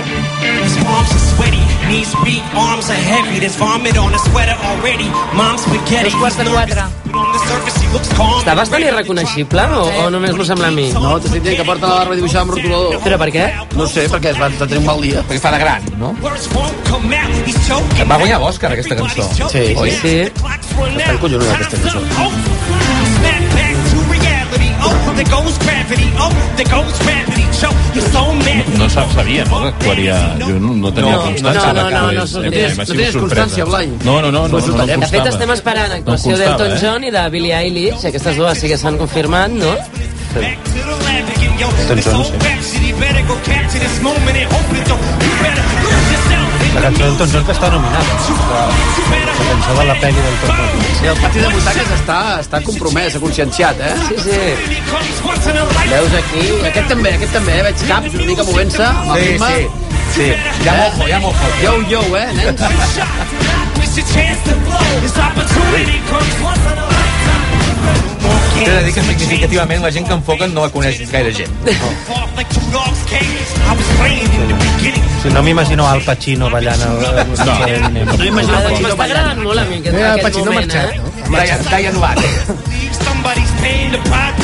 His palms are sweaty, knees weak, arms are heavy. There's vomit on his sweater already. Mom's spaghetti. He's nervous, but on the surface he looks calm. Està bastant irreconeixible o, o només m'ho sembla a mi? No, t'estic dient que porta la barba dibuixada amb rotulador. Però per què? No sé, perquè es va tenir un mal dia. Perquè fa de gran, no? Words won't come out. He's choking. Va guanyar l'Òscar, aquesta cançó. Sí, Oi? sí. Està collonada, aquesta cançó. Snap back to reality. Oh, there goes gravity. Oh, there goes gravity. Choke. You're so mad. No sap, sabia, no, que actuaria... Jo no, no tenia No, constància. no, de no, que no, és- no, eh, no tenies- m'ha no sigut tenies sorpresa. constància, Blai. No, no, no, no, Pues no, no, ho tallem. De fet, constava. estem esperant actuació No constava, d'Elton eh? John i de Billie Eilish. Aquestes dues sí que s'han confirmat, no? La cançó d'Elton John que està nominada. La cançó de la pel·li d'Elton John. Sí, el pati de butaques està, està compromès, ha conscienciat, eh? Sí, sí. Veus aquí? Aquest també, aquest també, eh? Veig caps una mica movent-se, amb el Sí, ritme. sí, Ah, sí. Ja mojo, ja mojo. Yo, yo, eh, nens? T'he de dir que significativament la gent que enfoquen no la coneix gaire gent. Sí, no m'imagino Al Pacino ballant el... No, no Ah, doncs M'està agradant molt a mi aquest, Ah, Mira, el aquest Pacino ha moment, ah, marxat, eh? Brian, Brian Watt. Somebody's paying the pot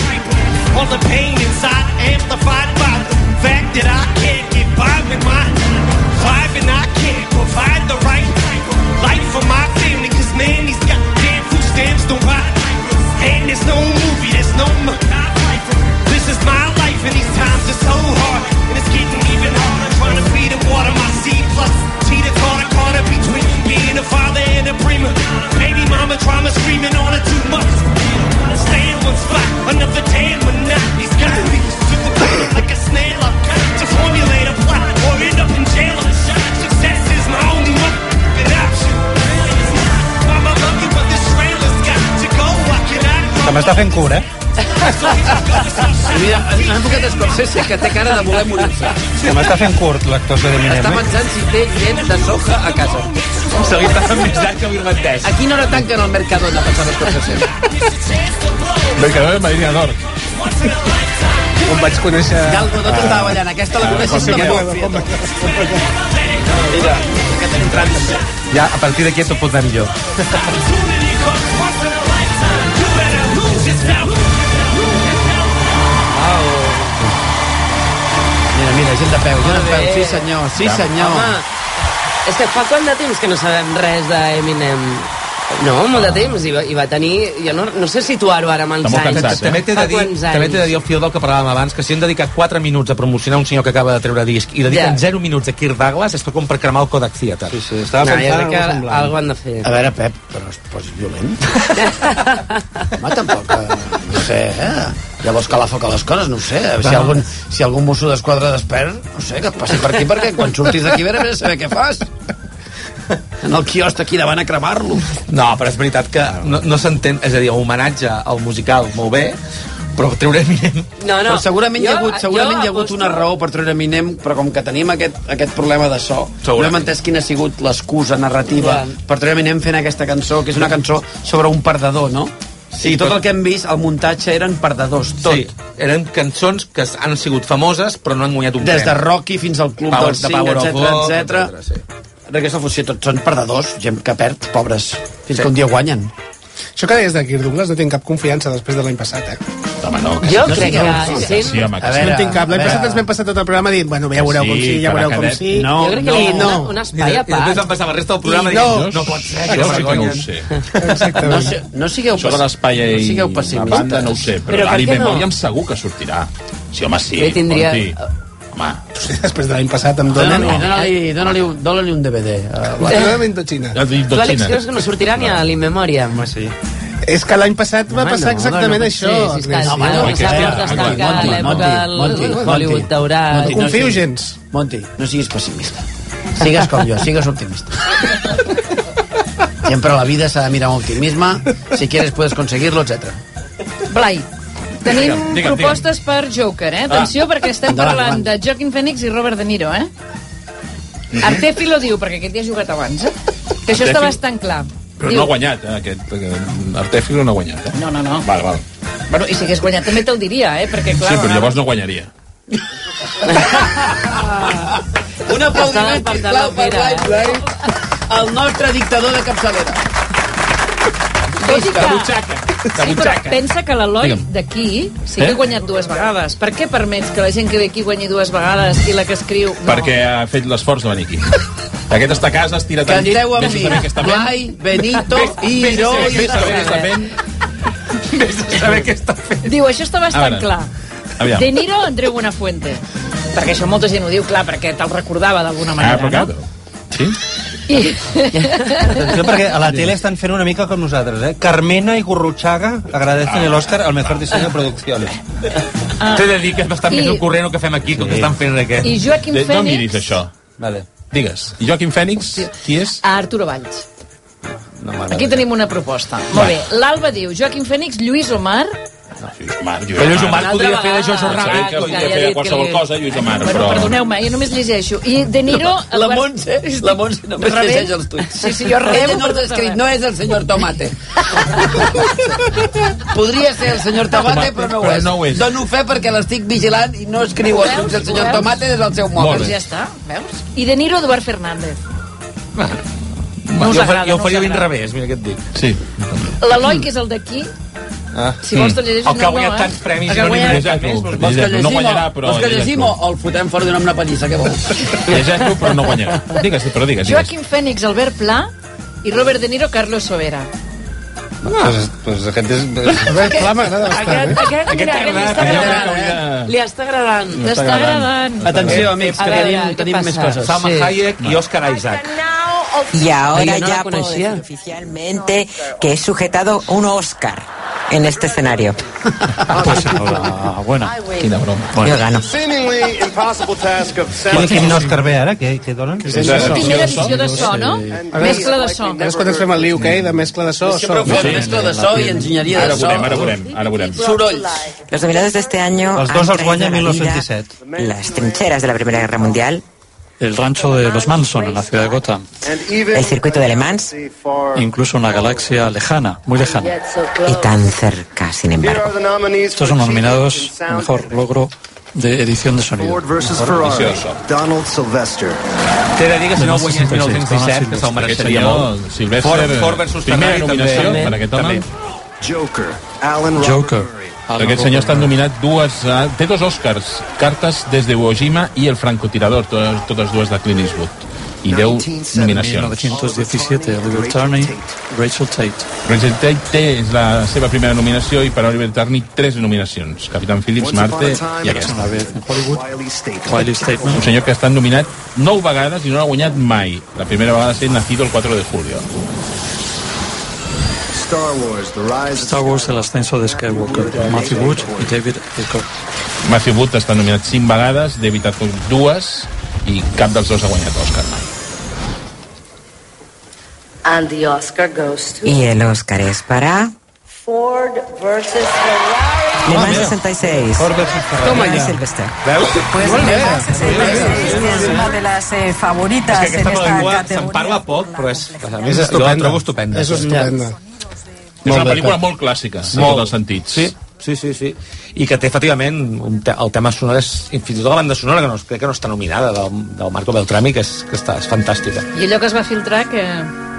All the pain inside amplified by the fact that I can't get by with my vibe and I can't provide the right type of life for my family. Cause man, these goddamn food stamps don't buy diapers. And there's no movie, there's no MacGyver. This is my life and these times are so hard. And it's getting even harder trying to feed and water my seed. Plus, cheetah caught a corner between being a father and a dreamer. Baby mama trauma screaming on her too much. Stay in one spot, another day in monotony's got me to the bone like a snail. I've got to formulate a plot or end up in jail. Success is my only motherfucking option. It's not why my monkey, but this trailer's got to go. I cannot Se m'està fent cura, eh? Mira, han enfocat Scorsese, que té cara de voler morir-se. Se m'està fent curt l'actuació Està d'Eminem, eh? pensant si té gent de soja a casa. Se li està fent més gran que l'irlandès. A quina hora tanquen el Mercadona, pensava Scorsese? Mercadona de Madrid d'Or. On vaig conèixer... Galgo, no t'estava ballant. Aquesta la coneixes de molt. Mira, ja, a partir d'aquí tot pot anar millor. Mira, mira, gent de peu, gent de peu. Sí, senyor, sí, senyor. Home, és que fa quant de temps que no sabem res d'Eminem? No, molt de temps, i va, i va tenir... Jo no, no sé situar-ho ara amb els Està molt anys. cansat, eh? També t'he de, Fa dir, quants també t'he de anys? dir el fio del que parlàvem abans, que si han dedicat 4 minuts a promocionar un senyor que acaba de treure disc i dediquen Ja. 0 minuts a Kirk Douglas, és tot com per cremar el Kodak Theater. Sí, sí, No, jo crec que alguna han de fer. A veure, Pep, però es posis violent. Home, tampoc, eh, no sé, eh? Llavors que la foca les coses, no ho sé. Si algun, si algun mosso d'esquadra desperd, no sé, que et passi per aquí, perquè quan surtis d'aquí, a veure, a veure, saber què fas. En el quiosc aquí davant a cremar-lo. No, però és veritat que no, no s'entén, és a dir, homenatge al musical, molt bé, però treure Eminem... No, no. Però segurament, hi ha Jo- hagut, segurament jo hi ha hagut aposto- una raó per treure Eminem, però com que tenim aquest, aquest problema de so, no hem Segurament. entès quina ha sigut l'excusa narrativa Ja. per treure Eminem fent aquesta cançó, que és una cançó sobre un perdedor, no? Sí, I tot però- el que hem vist, el muntatge, eren perdedors, tot. Sí, eren cançons que han sigut famoses però no han guanyat un Des de premi. Rocky fins al Club Power- dels de 5, Power of Love, etc etcètera, etc. Aquesta funció, tots són perdedors, gent que perd, pobres, fins que un dia guanyen. Això que deies de Kirk Douglas no tinc cap confiança després de l'any passat, eh? Jo No crec tinc cap que... confiança. Sí, A veure, no en tinc cap. L'any passat ens vam passar tot el programa dient, bueno, ja veureu com sí, ja veureu com sí. jo crec que I no. no. Un, un espai a I després part. van passar la resta del programa I i dient, no. no pot ser, Això que sí que no ho vergonyen. sé. No, se- no sigueu, Això de pessi- l'espai no i sigueu la pessimistes. banda no ho sé, però, Però però per l'Ari què no? Memoriam segur que sortirà. Sí, home, sí. Jo tindria- Conti. Home, Després de l'any passat em donen... Dóna-li Eh? dóna-li- dóna-li un- dóna-li un DVD. eh, Blai. Dóna-me Indochina. ja has dit Tu, tot Àlex, xina. creus que no sortirà ni a l'Inmemoria? Home, sí. És que l'any passat va Home, passar no, no exactament pot això. ser, si és que Chris. no, home, no, Aquesta- s'ha de destacar Monty, l'època del Monty, Monty, Hollywood Monty. daurat. No confio siguis- gens. Monti, no siguis pessimista. Sigues com jo, sigues optimista. Siempre la vida se ha de mirar amb optimisme, si quieres puedes conseguirlo, etc. Blai, tenim Digue'm, digue'm, propostes per Joker, eh? Atenció, perquè estem Endavant, parlant de Joaquin Phoenix i Robert De Niro, eh? Artefi ho diu, perquè aquest hi ha jugat abans, eh? Que això Artefi? està bastant clar. Però Diu- no ha guanyat, eh, aquest. eh, Artèfilo no ha guanyat. Eh? No, no, no. Val, val. Bueno, i si hagués guanyat també te'l diria, eh? Perquè, clar, Sí, però llavors no guanyaria. Un aplaudiment, Estava sisplau, per Pere, Blai Blai, eh? el nostre dictador de capçalera. Tot i que- Sí, però butxaca. pensa que l'Eloi Digue'm. d'aquí sí que Eh? ha guanyat dues vegades. Per què permets que la gent que ve aquí guanyi dues vegades i la que escriu... No. Perquè ha fet l'esforç de venir aquí. Aquest està a casa, es tira tant. Canteu amb mi. què està fent. Blai, Benito i Vés a Roy. saber què està fent, està fent. Vés a saber què està fent. Diu, això està A bastant veure. clar. Aviam. De Niro, Andreu Buenafuente. Perquè això molta gent ho diu, clar, perquè te'l recordava d'alguna Ah, però manera, clar. no? Sí? I... Atenció, perquè a la tele estan fent una mica com nosaltres, eh? Carmena i Gurruchaga Ah. agradecen el Oscar al mejor diseño de producciones. Ah. T'he de dir que és bastant I- més el corrent el que fem aquí que el que estan fent en aquest. I Joaquim De- Eh, No Phoenix? miris això. Vale. Digues. I Joaquim Fènix, qui és? A Arturo Valls. No Aquí tenim una proposta. Molt bé, l'Alba diu Joaquim Fènix, Lluís Omar... Però Lluís Omar podria fer de Jojo Sabeu Rabbit, que podria ja fer he de dit qualsevol que li- cosa, Lluís Omar, Bueno, però... perdoneu-me, jo només llegeixo. I De Niro... No, la Montse, la Montse només Rebent? llegeix els tuits. Sí, sí, jo Ella rebo no per ha tot escrit, arreu. no és el senyor Tomate. Podria ser el senyor Tomate, Tomate, però no ho però és. no ho és. Dono fe perquè l'estic vigilant i no escriu els tuits del senyor Veus? Doncs Tomate des del seu Molt mòbil. bé. Ja està, veus? I De Niro, Eduard Fernández. No us jo, agrada, fa- jo no us ho faria ben agrada. revés, mira què et dic. Sí. L'Eloi, que és el d'aquí, Mm. Ah. Si vols te'l llegeixo, El que no, ha guanyat no, eh? tants premis El i que no ha n'hi guanyat- mereix cap més. Vols que llegim, No guanyarà, o- però vols que llegeix-lo. llegim o el fotem fora d'una una pallissa, què vols? Llegeix-lo, però no guanyarà. Digues, però digues, digues. Joaquim Fènix, Albert Pla i Robert De Niro, Carlos Sobera. Pues, pues aquest Ah, és... A veure, clar, m'agrada bastant, eh? Aquest, mira, aquest li està agradant, eh? Li està agradant. T'està agradant. Atenció, amics, A que veure, tenim, què tenim passa? més coses. Salma Sí. Hayek i Oscar Isaac. Y ahora Yo no la ya puedo conocía. decir oficialmente que es sujetado un Oscar en este escenario. Bueno, quina broma. Yo gano. Seemingly impossible task of Quin, quin Oscar ve ara? Què, què donen? Sí, sí, sí. Primera edició de so, no? A veure, Mescla de so. A veure quan ens fem el liu, que de mescla de so. Sempre ho fem, mescla de so i enginyeria de Ara so. veurem, ara veurem, ara veurem. Sorolls. Los nominados de este año Els han dos els traído guanya a la vida 1917. las trincheras de la Primera Guerra Mundial, El rancho de los Manson en la ciudad de Gotham. el circuito de Le Mans Incluso una galaxia lejana, muy lejana. y tan cerca, sin embargo. Estos son los nominados a mejor logro de edición de sonido. Donald Sylvester. T'he de dir que si no Demà guanyés 66, 1917, que se'l mereixeria molt. Ford, Ford versus Primera Ferrari, també. nominació també. per aquest home. Joker. Alan Rock. Joker. Aquest senyor està nominat dues... eh, té dos Oscars, Cartes des de Iwo Jima i El francotirador, totes, totes dues de Clint Eastwood. I 10 nominacions. 1917, Oliver Tarney, Rachel Tate. Rachel Tate té, és la seva primera nominació i per Oliver Tarney tres nominacions. Capitán Phillips, Marte i aquesta. Una vez en Hollywood. Wiley Statement. Un senyor que ha estat nominat nou vegades i no l'ha guanyat mai. La primera vegada ser nacido el 4 de julio. Star Wars, The Rise Star Wars El ascenso de Skywalker, Matthew Wood y David Hickok. Matthew Wood està nominat cinc vegades, David Attenborough dues i cap dels dos ha guanyat l'Oscar mai. And the Oscar goes to Y el Oscar es para Ford versus Ferrari. Ah, Le Mans 66. Toma ya. Veus? Pues Molt bé. Le Mans 66 és una de les eh, És favoritas que en aquesta pel·lícula esta se'n parla poc, però és... A més, és Jo la estupenda. trobo estupenda. És estupenda. És una pel·lícula molt clàssica, en Molt. tots els sentits. Sí, sí, sí, sí. I que té, efectivament, un te el tema sonor és... Fins i tot la banda sonora, que no, crec que no està nominada, del, del Marco Beltrami, que és, que està, és fantàstica. I allò que es va filtrar, que...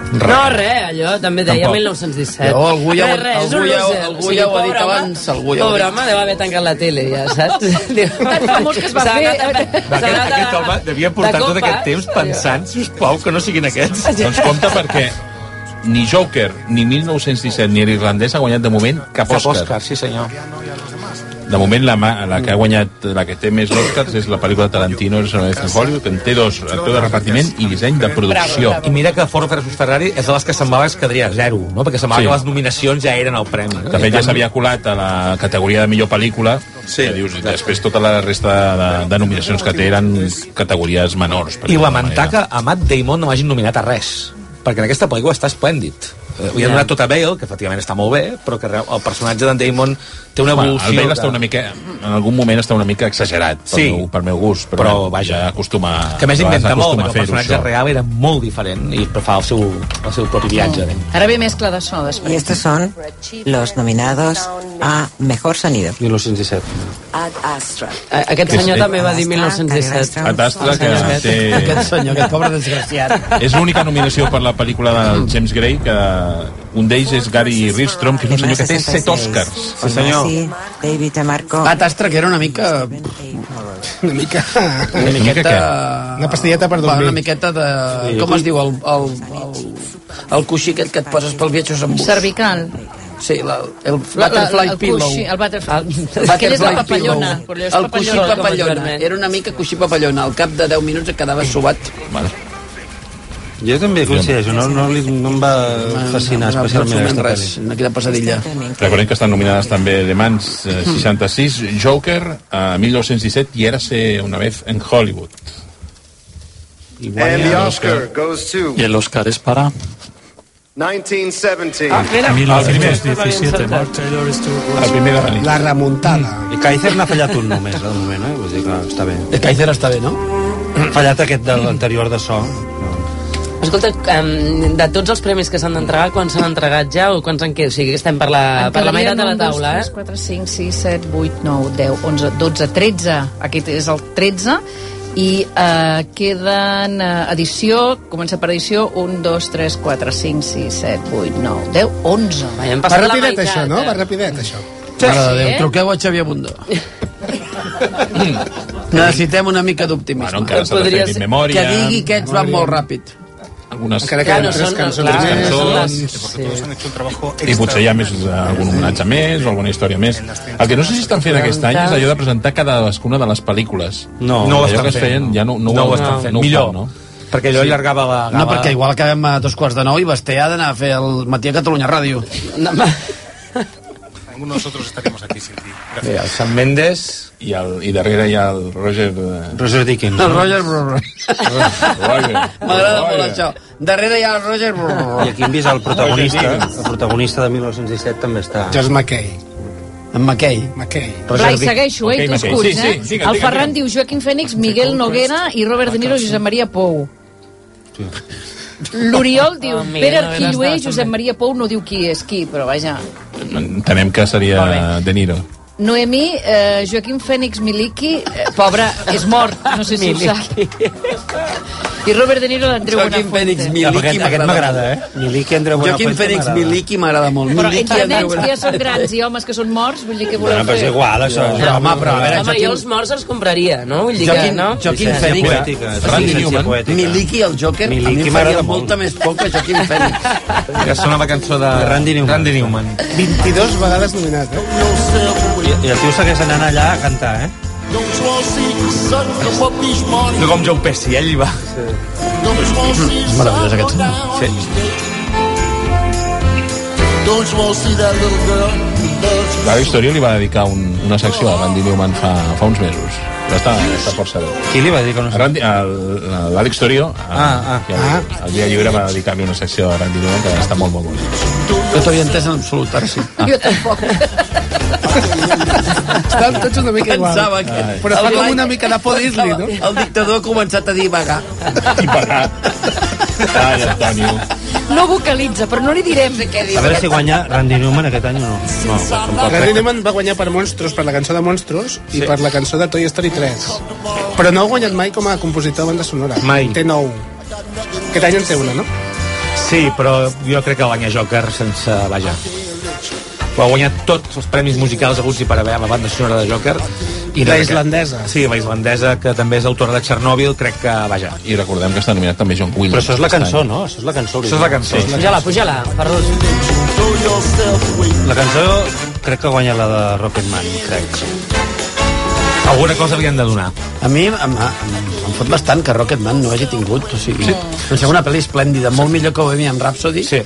No, res, allò també deia Tampoc. 1917. Jo, algú ja ho- Res, res, és un algú ja ho- loser. algú O sigui, ja ho ha pobre dit home- abans, algú ja ho ha Pobre dit. home, deu haver tancat la tele, ja, saps? Tan famós que es va S'ha fer. anat a- s'ha Aquest, anat a- aquest home devia portar de tot aquest compes. temps pensant, si us plau, que no siguin aquests. Doncs compte perquè ni Joker, ni 1917, ni l'irlandès ha guanyat de moment cap Cap Òscar. Òscar, sí senyor. De moment la, ma- la que ha guanyat, la que té més Oscars és la pel·lícula de Tarantino, és una vez en Hollywood, que en té dos, actor de repartiment i disseny de producció. I mira que Ford versus Ferrari és de les que semblava que es quedaria a zero, no? perquè semblava Sí. sí. que les nominacions ja eren el premi. No? De fet, ja s'havia colat a la categoria de millor pel·lícula, sí. que dius, i després tota la resta de, de nominacions que té eren categories menors. per I dir-ho d'alguna lamentar manera. que a Matt Damon no l'hagin nominat a res. perquè en aquesta pel·lícula està esplèndid. Eh, Li Ja. han donat tot a Bale, que efectivament està molt bé, però que real- el personatge d'en Damon té una Bueno, el evolució... Bale de- està una mica, en algun moment està una mica exagerat, pel, Sí. meu, pel meu gust, però, Però, vaja, acostuma... Que a més de vegades inventa molt, acostuma perquè a el fer-ho, personatge això. real era molt diferent i fa el seu, el seu propi viatge. Mm. Ara ve mescla de so després. Y estos son los nominados a Mejor Sonido. 1917. Ad Astra. Aquest senyor també va dir 1917. Ad Astra, que té... Aquest senyor, aquest pobre desgraciat. És l'única nominació per la pel·lícula de James Gray, que un d'ells és Gary Ristrom, que és un senyor que té set Oscars. Sí, David DeMarco. Ah, Tastra, que era una mica... Una mica... Una mica miqueta... Una pastilleta per Va, dormir. una miqueta de... Sí. Com es diu? El, el, el, el coixí aquest que et poses pels viatges en bus. Cervical. Sí, la, el La- la- butterfly el pillow. coixí, el butterfly. El Aquell és la butterfly papallona, pillow. però allò és El coixí papallona, com el papallona. Germain. Era una mica coixí papallona. Al cap de 10 minuts et quedava subat. Jo també coincideixo, no, no, li, no em va fascinar no, no, especialment absolutament aquesta res. pel·li. Una queda pesadilla. Recordem que estan nominades també de mans eh, 66, Joker, eh, 1917 i Érase una vez en Hollywood. Eh, I And the Oscar goes to Y el Oscar es para 1917. Ah, El 1917. Mark Taylor estuvo El primer de la nit. La remuntada. I Kaiser n'ha fallat un només, eh, de moment, eh? Vull dir, clar, està bé. El Kaiser està bé, no? Fallat aquest de l'anterior de so. Escolta, em, de tots els premis que s'han d'entregar, quants s'han entregat ja o quants en queda? O sigui, que estem per la, per la meitat de la taula, eh? 4, 5, 6, 7, 8, 9, 10, 11, 12, 13. Aquest és el 13. I eh, queden eh, edició, comença per edició, 1, 2, 3, 4, 5, 6, 7, 8, 9, 10, 11. Vaja, Va rapidet, això, no? Va rapidet, això. Sí. Mare de Sí, Déu, eh? truqueu a Xavier Bundó. Necessitem una mica d'optimisme. Bueno, encara s'ha de fer Podries- memòria. Que digui que ets van molt ràpid. Algunes... Encara queden Claro, tres són- cançons clar, més. són Doncs- les- I potser hi ha més, eh, algun homenatge més o alguna història més. El que no sé si estan fent aquest any és allò de presentar cadascuna de les pel·lícules. No, no no ho allò estan que es fent. feien ja no, no, No ho ho estan fent. No ho Millor. fan, no? Perquè allò Sí. allargava la gala... No, perquè igual acabem a dos quarts de nou i Basté ha d'anar a fer el matí a Catalunya Ràdio. Ninguno de nosotros estaríamos aquí sin ti. Bé, el Sam Mendes... I, el, i darrere hi ha el Roger... eh, Roger Dickens. El Roger Brr. M'agrada molt això. Darrere hi ha el Roger Brr. I aquí hem vist el protagonista, el protagonista de 1917 també està... George McKay. En McKay. McKay. Blai, segueixo, eh, Ok, i tu els Macià. curts, Sí, sí, eh? digue'm, el digue'm, Ferran diu Joaquim Fènix, Miguel Noguera i Robert De Niro i Josep Maria Pou. L'Oriol diu Oh, Miguel Pere Noguera Arquillué estava i Josep Maria Pou no diu qui és qui, però vaja. Entenem que seria De Niro. Noemí, eh, Joaquim Fènix Miliki, eh, pobre, és mort, no sé si ho sap. I Robert De Niro l'Andreu Joaquim Bonafuente. Fènix Miliki Aquest- aquest m'agrada, eh? Miliki, Andreu Joaquim Bonafuente Fènix m'agrada. Miliki m'agrada molt. Però Miliki entre nens que ja són Bonafuente. grans i homes que són morts, vull dir que voleu Bueno, però és fer... igual, això. Però, home, però a veure, Home, jo els morts els compraria, no? Vull dir que, Joaquim, no? Joaquim Llicència Fènix. poètica, Sí, Randy sí, sí, Newman. poètica. Miliki, el Joker, Miliki a mi em m'agrada faria molt. molta més por que Joaquim Fènix. Que sona la cançó de... Randy Newman. Randy Newman. 22 vegades nominat, eh? I, I el tio segueix anant allà a cantar, eh? No com Joe Pesci, ell hi va. Mm-hmm. És Ah. meravellós aquest senyor. Sí. La història li va dedicar un, una secció a Randy Newman fa, fa uns mesos. Ja està, ja està força bé. Qui li va dir que no A Randy- a L'Àlex Torio, Ah, ah. a- que el, el dia lliure va dedicar-li una secció a Randy Newman que està molt, Ah. molt bona. Jo t'havia entès en absolut, ara sí. Jo tampoc. Estàvem tots una mica igual. Pensava que... Ai. Però fa el com Blai- una mica de por Disney, no? El dictador ha començat a divagar. Ah, Ai, Antonio. No vocalitza, però no li direm de què diu. A veure si guanya Randy Newman aquest any o no. No, tampoc. Randy Newman va guanyar per Monstros, per la cançó de Monstros i per la cançó de Toy Story 3. Però no ha guanyat mai com a compositor de banda sonora. Mai. Té nou. Aquest any en té una, no? Sí, però jo crec que guanya Joker sense... Vaja. Ho ha guanyat tots els premis musicals aguts i per haver amb la banda sonora de Joker. I La crec que- islandesa. Sí, la islandesa, que també és autora de Chernobyl, crec que, vaja. I recordem que està nominat també John Williams. Però això és la cançó, no? Això és la cançó. Això és la cançó. Sí. Puja-la, puja-la, Ferrus. La cançó crec que guanya la de Rocketman, crec. Alguna cosa li han de donar. A mi em, em, em fot bastant que Rocketman no hagi tingut. O sigui, sí. Em sembla una pel·li esplèndida, molt millor que Bohemian Rhapsody. Sí.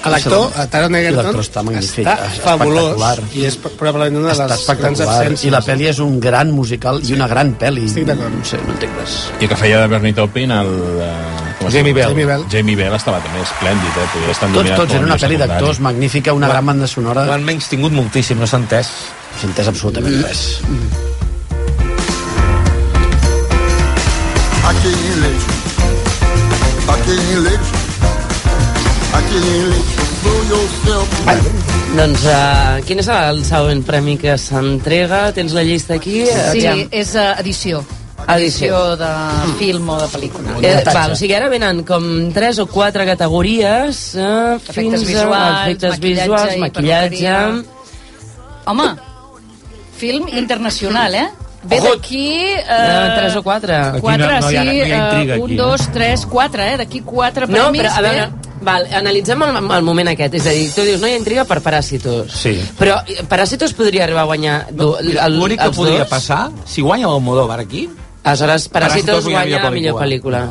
L'actor, a Taron Egerton, l'actor està magnífic. està fabulós espectacular. i és probablement una de Està les grans espectacular. absències. I la pel·li és un gran musical i una gran pel·li. Estic d'acord. No sé, no entenc res. I que feia de Bernie Taupin el... eh, Com Jamie Bell. Jamie Bell. Jamie Bell estava també esplèndid, eh? Podia estar Tots, nominat tots, era una com a millor pel·li secundari. d'actors magnífica, una gran banda sonora. L'han menys tingut moltíssim, no s'ha entès. No s'ha entès absolutament res. Aquele leite, aquele leite, aquele leite, do yourself. Doncs uh, quin és el següent premi que s'entrega? Tens la llista aquí? Sí, Aviam. és eh, edició. Edició. Edició de film o de pel·lícula. Eh, val, o sigui, ara venen com 3 o 4 categories eh, fins visuals, a efectes maquillatge visuals, i maquillatge... perruqueria. Home, film internacional, eh? Ve Ojo! d'aquí... Eh, Eh, tres o quatre. Aquí Quatre, no- no hi sí. ha- no hi ha intriga, eh, un, aquí, eh? dos, tres, quatre, eh? D'aquí quatre No, premis. eh? però a ve- veure, val, analitzem el, el moment aquest. És a dir, tu dius, no hi ha intriga per Paràsitos. Sí. Però eh, Paràsitos podria arribar a guanyar no, el, L'únic que els podria dos. passar, si guanya l'Almodóvar aquí... Aleshores, Paràsitos guanya la millor pel·lícula.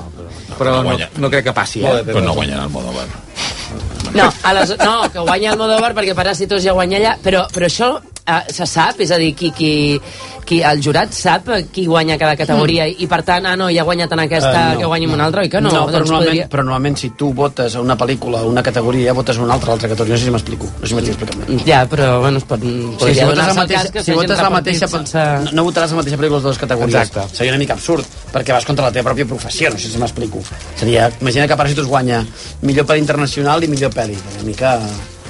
Però no, no crec que passi, eh? Però no guanyarà Almodóvar. No, a les, no, que guanya el Modovar perquè Paràsitos ja guanya allà, però, però això eh, se sap, és a dir, qui, qui, qui, el jurat sap eh, qui guanya cada categoria i per tant, ah no, ja ha guanyat en aquesta, Eh, que guanyi en una altra, oi que no? No, però, doncs normalment, podria... però normalment si tu votes a una pel·lícula, a una categoria, votes a una altra, a l'altra categoria. No sé si m'explico. No sé si m'estic explicant bé. Ja, però, bueno, es pot... Sí, si podria votes la donar-se el cas mateixa, que si s'hagin votes la repartit mateixa sense- no, no votaràs la mateixa pel·lícula a les dues categories. Exacte. Seria una mica absurd, perquè vas contra la teva pròpia professió, no sé si m'explico. Seria, imagina que Parasitos guanya millor pel·li internacional i millor pel·li. Una mica...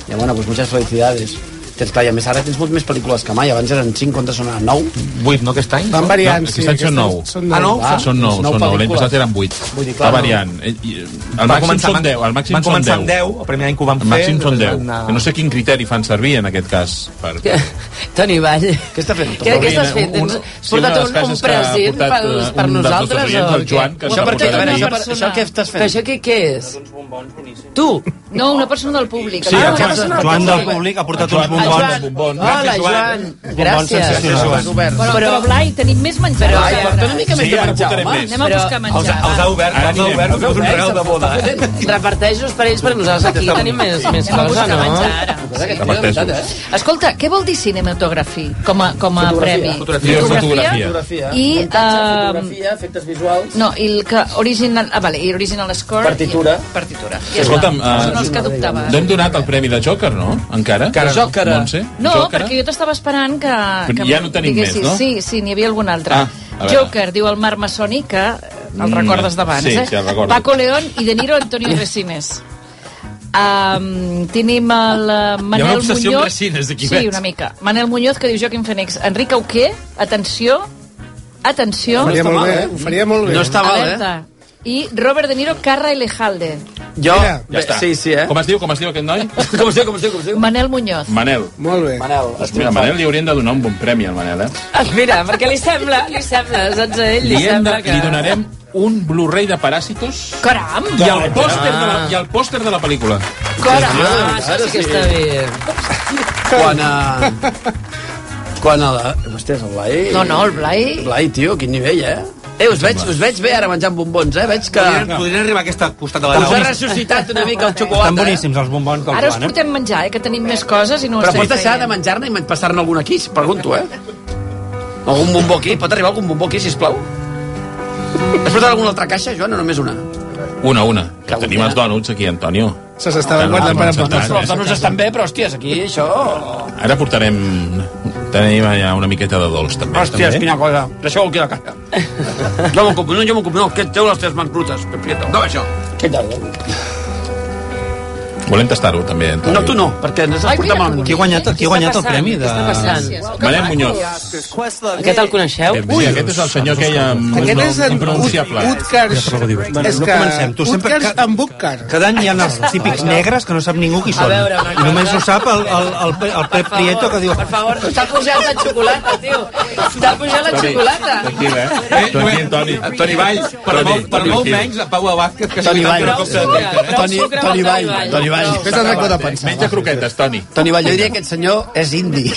Ja, bueno, pues muchas felicidades. Tens, clar, i a més ara tens molt més pel·lícules que mai. Abans eren 5, quantes són ara? 9? 8, no, aquest any? Van variant, no, aquest any són 9. Ah, nou? Ah, són 9, són 9. L'any passat eren 8. Vull dir, clar, Va no. variant. Eh, i, eh, El Va màxim començar són amb- 10. El màxim van són començar 10. amb 10, el primer any que ho van El fer, màxim són després 10. van anar- Que no sé quin criteri fan servir en aquest cas. Per... Toni Vall. Què està fent? Què, què estàs fent? Tens, sí, una portat de les un, un cases que ha present portat, eh, pels, per un dels nostres nosaltres? oients, o el què? Joan, que ens ha Però portat aquí. una Això persona- què estàs fent? Però això què, què és? Tu? No, una persona del públic. Sí, Ah, el una Joan- persona Joan del públic. públic ha portat Joan- uns bombons. Joan. Bombons. Hola, Gràcies, Joan. Gràcies. sensacionals. Gràcies, Bueno, Joan. però, Blai, tenim més menjar. Però, Blai, porta una mica més Sí, de ara menjar, portarem home. més. Anem a buscar menjar. Els, els ha obert, els ha obert, els ha obert un regal de boda. eh? Reparteixos per ells, per nosaltres aquí tenim més, més Anem a cosa, buscar no? menjar ara. eh? Escolta, què vol dir cinematografia com a, com a premi? Fotografia. Fotografia. I, Muntatge, ehm, fotografia, efectes visuals... No, i el que original... Ah, vale, i original score... Partitura. I, partitura. Sí, escolta'm, està. Són eh, els que dubtava. No hem donat el premi de Joker, no? Encara? Encara no. Joker. Montse? No, Joker? perquè jo t'estava esperant que... Però que ja no tenim diguessis. més, no? Sí, sí, n'hi havia algun altre. Ah, a veure. Joker, diu el Marc Massoni, que eh, el Mm, recordes d'abans, sí, eh? sí, el recordo. Paco León i De Niro Antonio Resines. Um, tenim el eh, Manel Hi ha una obsessió amb Muñoz Resines, aquí veig. sí, una mica Manel Muñoz que diu Joaquim Fènix Enric Auqué, atenció atenció Ho faria molt bé, eh? Ho faria molt bé. No està mal, eh? Alerta. i Robert De Niro Carra Elejalde Jo, ja està. Sí, sí, eh? Com es diu, com es diu aquest noi? com es diu, com es diu, com es diu? Manel Muñoz Manel. Molt bé. Manel. Doncs mira, a Manel li haurien de donar un bon premi, al Manel, eh? Ah, Mira, perquè li sembla, li sembla, saps a ell? Li, Li, hem de, sembla que... li donarem un Blu-ray de Paràsitos Caram! i el pòster de la, i el pòster de la pel·lícula. Caram! Ah, això sí que està bé. Quan a... Quan a la... Hòsties, el Blai... No, no, el Blai- Blai, tio, quin nivell, eh? Eh, us veig, us veig bé ara menjant bombons, eh? Veig que... Podrien- podrien arribar a aquest costat de la Us ha taula. ressuscitat una mica el xocolata. eh? Estan boníssims els bombons del Ara us Joan, eh? portem menjar, eh, que tenim més coses i no Però us pots deixar de menjar-ne i passar-ne algun aquí, si pregunto, eh? Algun bombó aquí? Pot arribar algun bombó aquí, sisplau? Has portat alguna altra caixa, Joan, o només una? Una, una. Que tenim els dònuts aquí, Antonio. Se s'estaven guardant per emportar. Però els donos estan bé, però, hòsties, aquí, això... Ara portarem... Tenim allà una miqueta de dolç, també. Hòsties, també. quina cosa. Deixeu aquí la caixa. Jo m'ho compro, no, jo m'ho compro, no. Que teu les teves mans brutes, Pepieto. No, això. Què tal? Volem tastar-ho, també, Antonio. No, tu no, perquè ens has portat malament. Qui ha guanyat- qui ha Què guanyat el està premi passant? de- Què està passant? Manel Muñoz. Aquest el coneixeu? Eh, sí, aquest és el senyor que hi ha... Aquest és en impronunciable. Utkarsh. Bueno, no comencem. Tu sempre... Utkarsh ca- amb Utkarsh. Cada any hi ha els típics negres que no sap ningú qui A són. veure, una I només cosa. ho sap el, el, el, el Pep Prieto que diu... Per favor, t'ha pujat la xocolata, tio. T'ha pujat la Toni, xocolata. Tranquil, eh? Tranquil, Toni. Toni Valls, per, molt, per Toni, Toni, molt tranquil. menys, a Pau Abasques, que Toni s'ha Valls. fet un cop de directe, eh? Toni- Toni Valls. Toni Valls. Fes el record de pensar, Menja croquetes, Toni. Toni Vall, jo diria que aquest senyor és indi.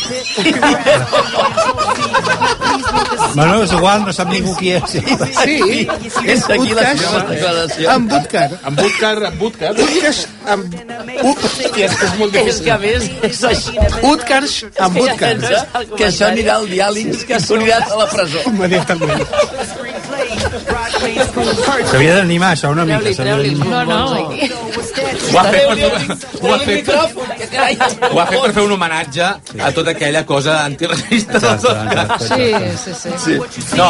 Bueno, és igual, no sap ningú qui és. Sí, és Utkarsh amb Utkarsh. Amb Utcar, amb Utcar. Utkarsh amb... Hòsties, que és molt És que a més és així. Utkarsh amb Utkarsh. eh? Que això anirà al diàleg, que s'unirà a la presó. Immediatament. S'havia d'animar això una mica. s'havia d'animar. No, no. Ho ha fet per tu- ho ha fet per- que carai, ho ha fet per fer un homenatge a tota aquella cosa antiracista dels Oscars. Sí, sí, sí. No,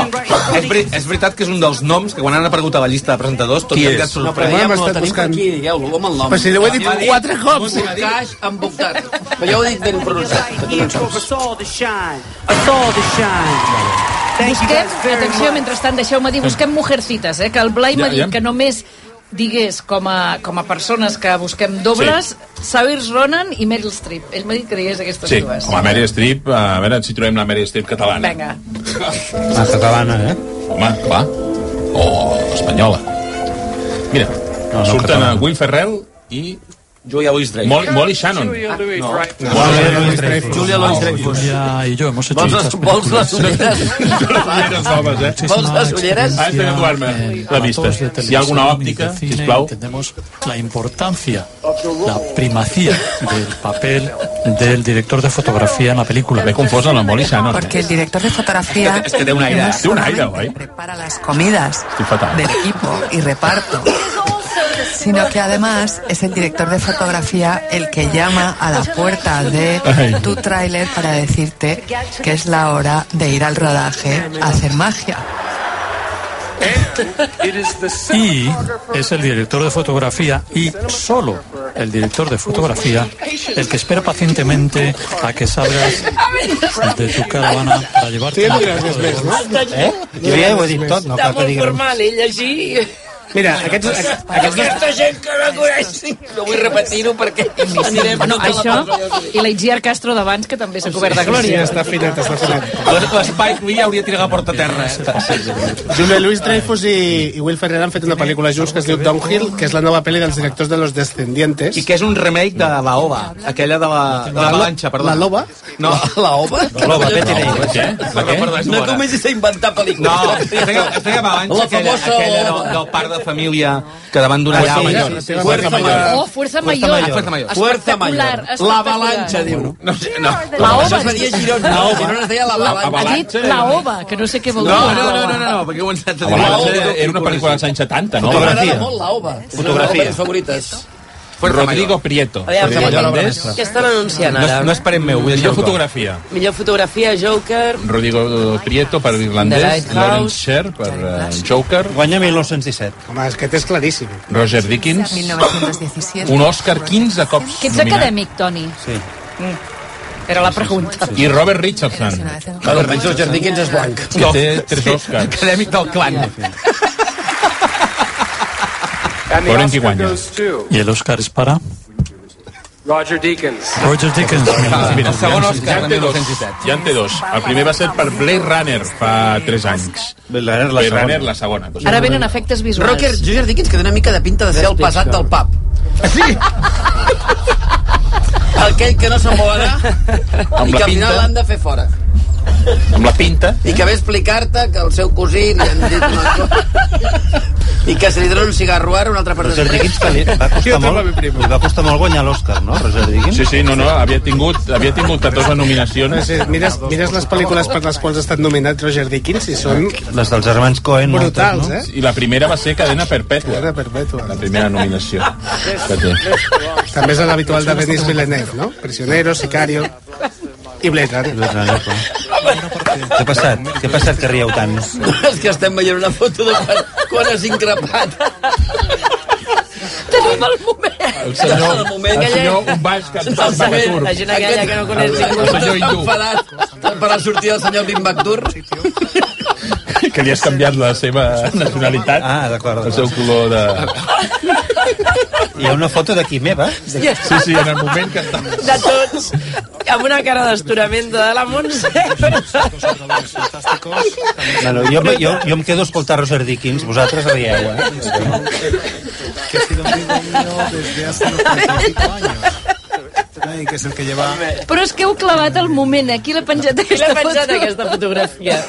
és, veri és veritat que és un dels noms que quan han aparegut a la llista de presentadors tots Qui hem és? quedat No, però ja sorpresos. Hem ho estat tenim per buscant. aquí, digueu-lo, amb el nom. Però si ho he dit Ja quatre cops. Bocage amb boctat. Però jo ho he dit ben pronunciat. Busquem, atenció, mentrestant, deixeu-me dir, busquem Mujercitas, eh? que el Blai m'ha Ja, ja. dit que només digués com a, com a persones que busquem dobles, Saoirse Ronan i Meryl Streep. Ell m'ha dit que digués aquestes Sí, dues. home, Mary Strip, a veure si trobem la Mary Strip catalana. Vinga. Ah, catalana, eh? Home, clar. O espanyola. Mira, no, surten catalana. a Will Ferrell i... Julia Louis-Dreyfus. Molly, Molly Shannon. Julia Louis-Dreyfus. Julia Louis-Dreyfus. Julia y yo hemos hecho Vols muchas les- vols películas. les ulleres? Muchísima experiencia Has de tatuar-me en la platós vista. de Si hi ha alguna televisión y de òptica, cine, sisplau. Entendemos la importancia, la primacía del papel del director de fotografía en la película. Me confuso la Molly Shannon. Porque el director de fotografía no es solamente prepara las comidas del equipo y reparto, sino que además es el director de fotografía el que llama a la puerta de tu tráiler para decirte que es la hora de ir al rodaje a hacer magia. Y es el director de fotografía y solo el director de fotografía el que espera pacientemente a que salgas de tu caravana para llevarte. Sí, gràcies, més, no? Eh? Jo ja ho he dit tot, no Està cal que molt diguem. formal, ell, així... Mira, aquests, aquests dos... Aquesta gent que no coneix... No vull repetir-ho perquè anirem... Bueno, tota la això, tarda. i la Itziar Castro d'abans, que també s'ha cobert de Sí, glòria. està afinat, està afinat. L'Spike Lee hauria tirat la porta a terra. Eh? Julia Louis Dreyfus i, i Will Ferrell han fet una pel·lícula junts que es diu Downhill, que és la nova pel·li dels directors de Los Descendientes. I que és un remake de la Ova, aquella de la, de la balanxa, perdó. La Loba? No, la Ova? La Loba, què tenia? La què? No comencis a inventar No, pel·lícules. estic a balanxa, La aquella, famosa aquella del, Ova. del par de família que davant d'una Ah, llau. sí, sí, sí, Fuerza Mayor. Oh, Fuerza Mayor. Ah, Fuerza Mayor. Fuerza Mayor. Espectacular, La avalanxa, diu. No, sé, no. La Això ova. es deia Girona. La ova. Girona es deia la Ha dit la ova, que no sé què No, vol dir. no, no, no, no, no, perquè ho ens La Balança Era una pel·lícula dels anys 70, no? M'agrada molt la ova. És una de les Fotografia. meves favorites. Rodrigo Prieto. Aviam, Rodrigo què- Holandès. què estan anunciant No, ara? és- no esperem meu, vull dir Millor jo. fotografia. Millor fotografia, Joker... Rodrigo Prieto per The irlandès, Lighthouse. Lawrence Sher per eh, Joker, Guanya 1917. Home, és que té és claríssim. Roger Dickens, 1917. un Òscar 15 cops Que ets nominat. acadèmic, Toni. Sí. Mm. Era la pregunta. I Robert Richardson. Robert Richardson. Roger Dickens és blanc. Que té tres Oscars. Acadèmic del clan. Veurem qui guanya. Y el Oscar es para Roger Deakins. Roger Dickens. Ah, Mira, el segon Òscar, ja de en té dos. Ja en té dos. El primer va ser per Blade Runner fa 3 anys. Blade Runner, la segona. Runner, la segona. Ara venen efectes visuals. Roger, Roger Dickens, que té una mica de pinta de ser el passat del pub. Sí. Aquell que no se'n vol anar i que Amb la al final pinta, l'han de fer fora. amb la pinta, I que ve a explicar-te que el seu cosí li han dit una cosa. I que se li dona un cigarro ara, un altre per Roger després. Dickens que li va costar molt, li va costar molt guanyar l'Oscar, no, Roger Dickens? Sí, sí, no, no, havia tingut, havia tingut 14 nominacions. Sí, mires, mires les pel·lícules per les quals ha estat nominat Roger Dickens i són... Les dels germans Coen, Brutals, eh? moltes, I la primera va ser Cadena Perpètua. Cadena Perpètua. La primera nominació que té. També és l'habitual de Denis Villeneuve, no? Prisionero, Sicario... I Blade Runner. Blade Runner, no? Què ha passat? Què ha passat que rieu tant? És que estem veient una foto de quan, quan has increpat. Tenim el moment. El senyor, El moment. el senyor un baix que El senyor- surt. La gent aquella que no coneix El senyor hindú. enfadat per la sortida del senyor Limbactur. que li has canviat la seva nacionalitat, ah, d'acord. el seu color de... Hi ha una foto d'aquí meva. Sí, sí, en el moment que... De tots, amb una cara d'astorament de la Montse. Bueno, jo, jo, jo em quedo a escoltar Roger Dickens, vosaltres rieu, eh? que es el que lleva Però és que heu clavat el moment, aquí l'ha eh? penjat aquesta L'ha penjat foto. aquesta fotografia.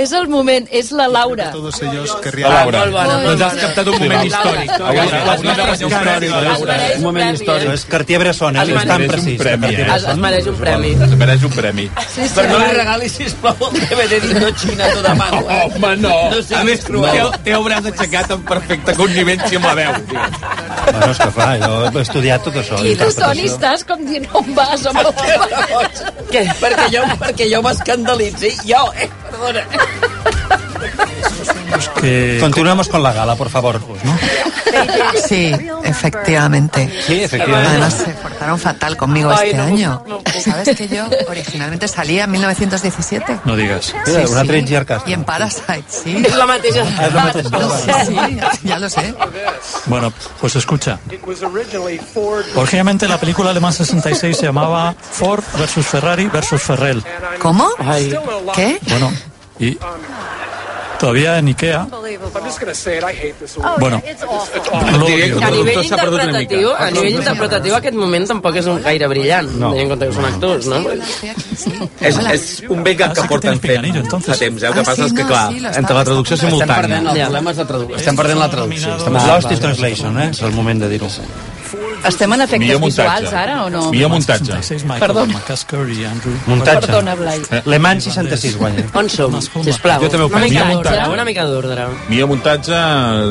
És el moment, és la Laura. Todos ellos querrían... La Laura. Doncs has captat un moment històric. Un eh? moment històric. És Cartier-Bresson, eh? és tan precís. Es, es mereix un premi. Es mereix un premi. Sí, sí. Però no li regali, sisplau, el DVD d'Indochina a tota mano. Eh? Home, no. No sé A més, té, té el braç aixecat amb perfecta connivència amb la veu. Bueno, és que clar, jo he estudiat tot això. I tu, Toni, estàs com dient on vas, home, on vas. Que, perquè jo, perquè jo m'escandalitzi. Jo, eh? Perdona. Que... Continuemos con la gala, por favor. ¿no? Sí, efectivamente. Sí, efectivamente. Ah, Además, se portaron fatal conmigo Ay, este no, año. Sabes que yo originalmente salía en 1917. No digas. Sí, Mira, una sí. tres jercas. Y en Parasite, sí. Es la mateixa. Es la mateixa. Lo sé, sí, ya lo sé. Bueno, pues escucha. Originalmente la película Alemán 66 se llamaba Ford versus Ferrari versus Ferrell. ¿Cómo? ¿Qué? Bueno, y todavía en Ikea. I'm just gonna say it. I hate this. Oh, Bueno. it's awful. A nivell interpretatiu, a nivell interpretatiu aquest moment tampoc és un gaire brillant, no. tenint en compte que són actors, no? És, és un bé que, que porten fent fa temps, eh? Ah, El que passa és que, clar, entre la traducció simultània... de traducció. Estem perdent la traducció. Estem ah, Lost in Translation, eh? És el moment de dir-ho. Estem en efectes Millor muntatge. visuals ara o no? Millor muntatge. Perdó. Muntatge. Perdona, Blai. Le Mans 66 guanya. On som? Sisplau, Jo també ho una penso. mica Millor d'ordre, muntatge. una mica d'ordre. Millor muntatge,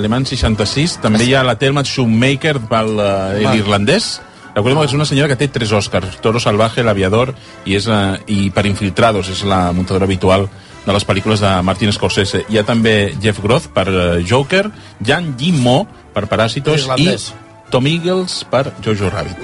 Le Mans 66. També hi ha la Thelma Shoemaker, pel, eh, l'irlandès. Recordem que és una senyora que té tres Oscars. Toro Salvaje, L'Aviador i, és, eh, i Per Infiltrados. És la muntadora habitual de les pel·lícules de Martin Scorsese. Hi ha també Jeff Groth per eh, Joker, Jan Guimó per Paràsitos i Irlandès. Tom Eagles per Jojo Rabbit.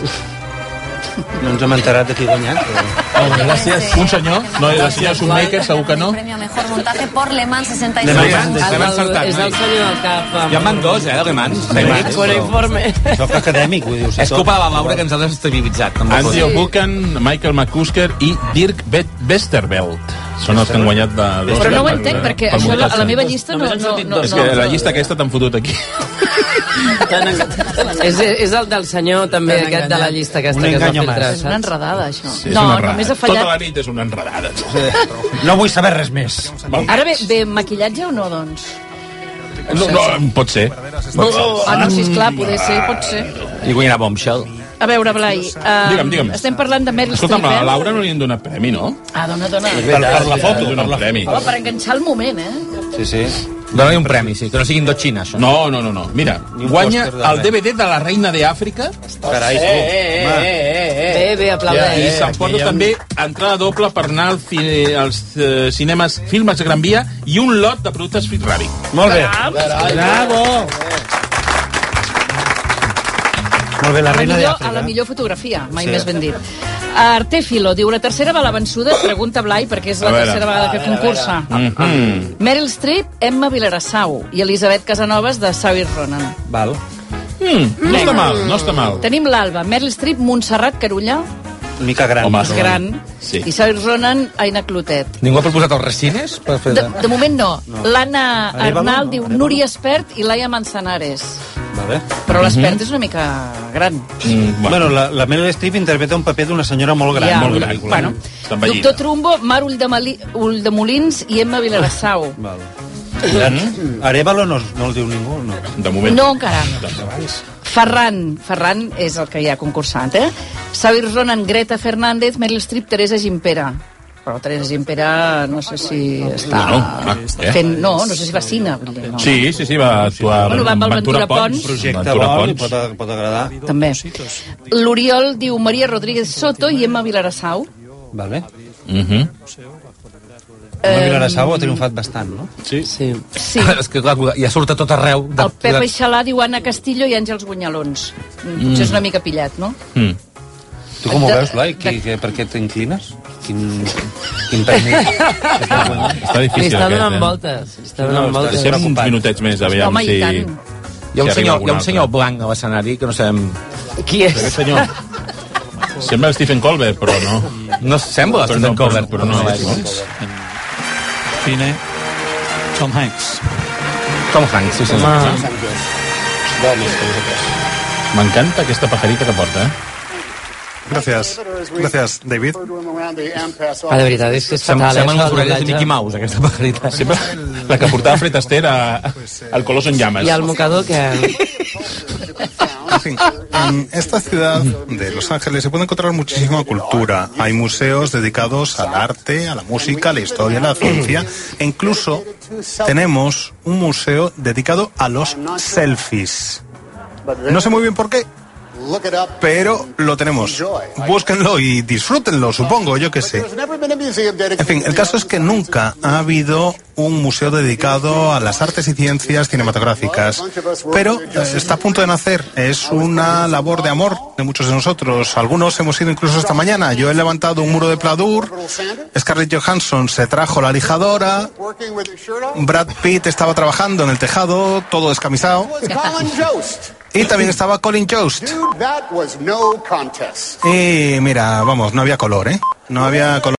No ens hem enterat de qui ha guanyat. Però... Oh, gràcies. Un senyor, no, la senyora Shoemaker, segur que no. Premio a mejor montaje por Le Mans 66. Le Mans, El Le Mans del- saltat, és el noi. senyor del cap. Ja en van dos, eh, Le Mans. Le Mans. Por informe. Això és acadèmic, vull dir. És culpa de la Laura que ens ha desestabilitzat. amb la Andy cosa. O'Buchan, Michael McCusker i Dirk Bet Westerveld són els que han guanyat de l'Oscar. Però no ho per- entenc, perquè per això a la, a la muntatge. meva llista no... no, no, és no, que la no. llista aquesta t'han fotut aquí. És, és el del senyor, també, aquest de la llista aquesta que es va filtrar. És una enredada, això. Sí, és no, una enredada. només ha Tota la fallat... nit és una enredada. No vull saber res més. Ara ve, ve maquillatge o no, doncs? No, no, pot ser. Ah, no, siesclar, poder ser, pot ser. I guanyarà Bombshell. A veure, Blai, eh, Digue'm, digue'm. estem parlant de Meryl Escolta'm, Streep, a la eh? Laura no li han donat premi, no? Ah, dona, dona. Per, la foto d'un premi. Home, per enganxar el moment, eh? Sí, sí. Dóna-li un premi, sí, que no siguin Indochina, això. No, no, no, no. Mira, guanya el DVD de la reina d'Àfrica. Carai, tu. eh, eh. Bé, bé, aplaudeix. I Eh, s'emporta aquí hi ha- també entrada doble per anar al ci als eh, cinemes Filmes Gran Via i un lot de productes Ferrari. Molt bé. Bravo. Molt bé, la A la, reina millor, d'Àfrica. a la millor fotografia, mai Sí. sí. més ben dit. Artefilo diu, la tercera va a la vençuda, pregunta Blai, perquè és A la veure. tercera vegada que concursa. eh? Mm-hmm. Mhm. Meryl Streep, Emma Vilarassau i Elisabet Casanovas de Saoirse Ronan. Val. Mm, no està mal, no està mal. Tenim l'Alba, Meryl Streep, Montserrat Carulla, Mica gran. Home, és gran, sí. i Saoirse Ronan, Aina Clotet. Ningú ha proposat els resines per fer... De, de moment no. No. L'Anna Arevalo, Arnal no? diu Núria Espert i Laia Manzanares. Vale. Però Mhm. l'Espert és una mica gran. Mm, bueno. bueno, la, la Meryl Streep interpreta un paper d'una senyora molt gran. Ja. Molt gran. Bueno. Doctor Trumbo, Mar Ulldemali- Ulldemolins i Emma Vilarassau. Val. Mm. Arevalo no, no el diu ningú, no? Doncs De Doncs No, encara no. Ferran. Ferran és el que hi ha concursant, eh? Xavier Ronan, Greta Fernández, Meryl Streep, Teresa Gimpera. Però Teresa Gimpera, no sé si està No, clar, eh? fent... No, no sé si va a cine. vull dir, No. Sí, sí, sí, va actuar Bueno, va amb el Ventura Pons. Projecte Ventura vol, Pons. pot, pot agradar. També. L'Oriol diu Maria Rodríguez Soto i Emma Vilarassau. Vale. Mm -hmm. La Vilarassau ha triomfat bastant, no? Sí. sí. Sí. és que clar, ja surt a tot arreu. De, El Pep Aixalà diu Anna Castillo i Àngels Guanyalons. Mm, Potser és una mica pillat, no? Tu com ho De- veus, Blai? Qui, que, per què t'inclines? Quin, quin premi? Està difícil, Li està aquest, donant eh? voltes. li Està donant voltes. Deixem uns minutets més, aviam Home, i si... tant. Hi ha un senyor, si arriba hi ha un algun senyor blanc a l'escenari que no sabem... Qui és? Aquest senyor. Sembla Stephen Colbert, però no. No sembla però Stephen no, però- Colbert, però no, però no és. és. no? Cine, Tom Hanks. Tom Hanks, sí, senyor. Ah. M'encanta aquesta pajarita que porta, eh? Gràcies. Gràcies, David. Ah, de veritat, és que és Sem- fatal. Semblen eh, les això del orelles doblatge. de Mickey Mouse, aquesta pajarita. Sempre la que portava Fred Astaire a- al Colos en Llamas. I el mocador que... En fin, en esta ciudad de Los Ángeles se puede encontrar muchísima cultura. Hay museos dedicados al arte, a la música, a la historia, a la ciencia. E incluso tenemos un museo dedicado a los selfies. No sé muy bien por qué, pero lo tenemos. Búsquenlo y disfrútenlo, supongo, yo que sé. En fin, el caso es que nunca ha habido un museo dedicado a las artes y ciencias cinematográficas, pero eh, está a punto de nacer. Es una labor de amor de muchos de nosotros. Algunos hemos ido incluso esta mañana. Yo he levantado un muro de Pladur, Scarlett Johansson se trajo la lijadora, Brad Pitt estaba trabajando en el tejado, todo descamisado, Colin Jost. y también estaba Colin Jost. Dude, that was no contest. Y mira, vamos, no había color, ¿eh? No había color.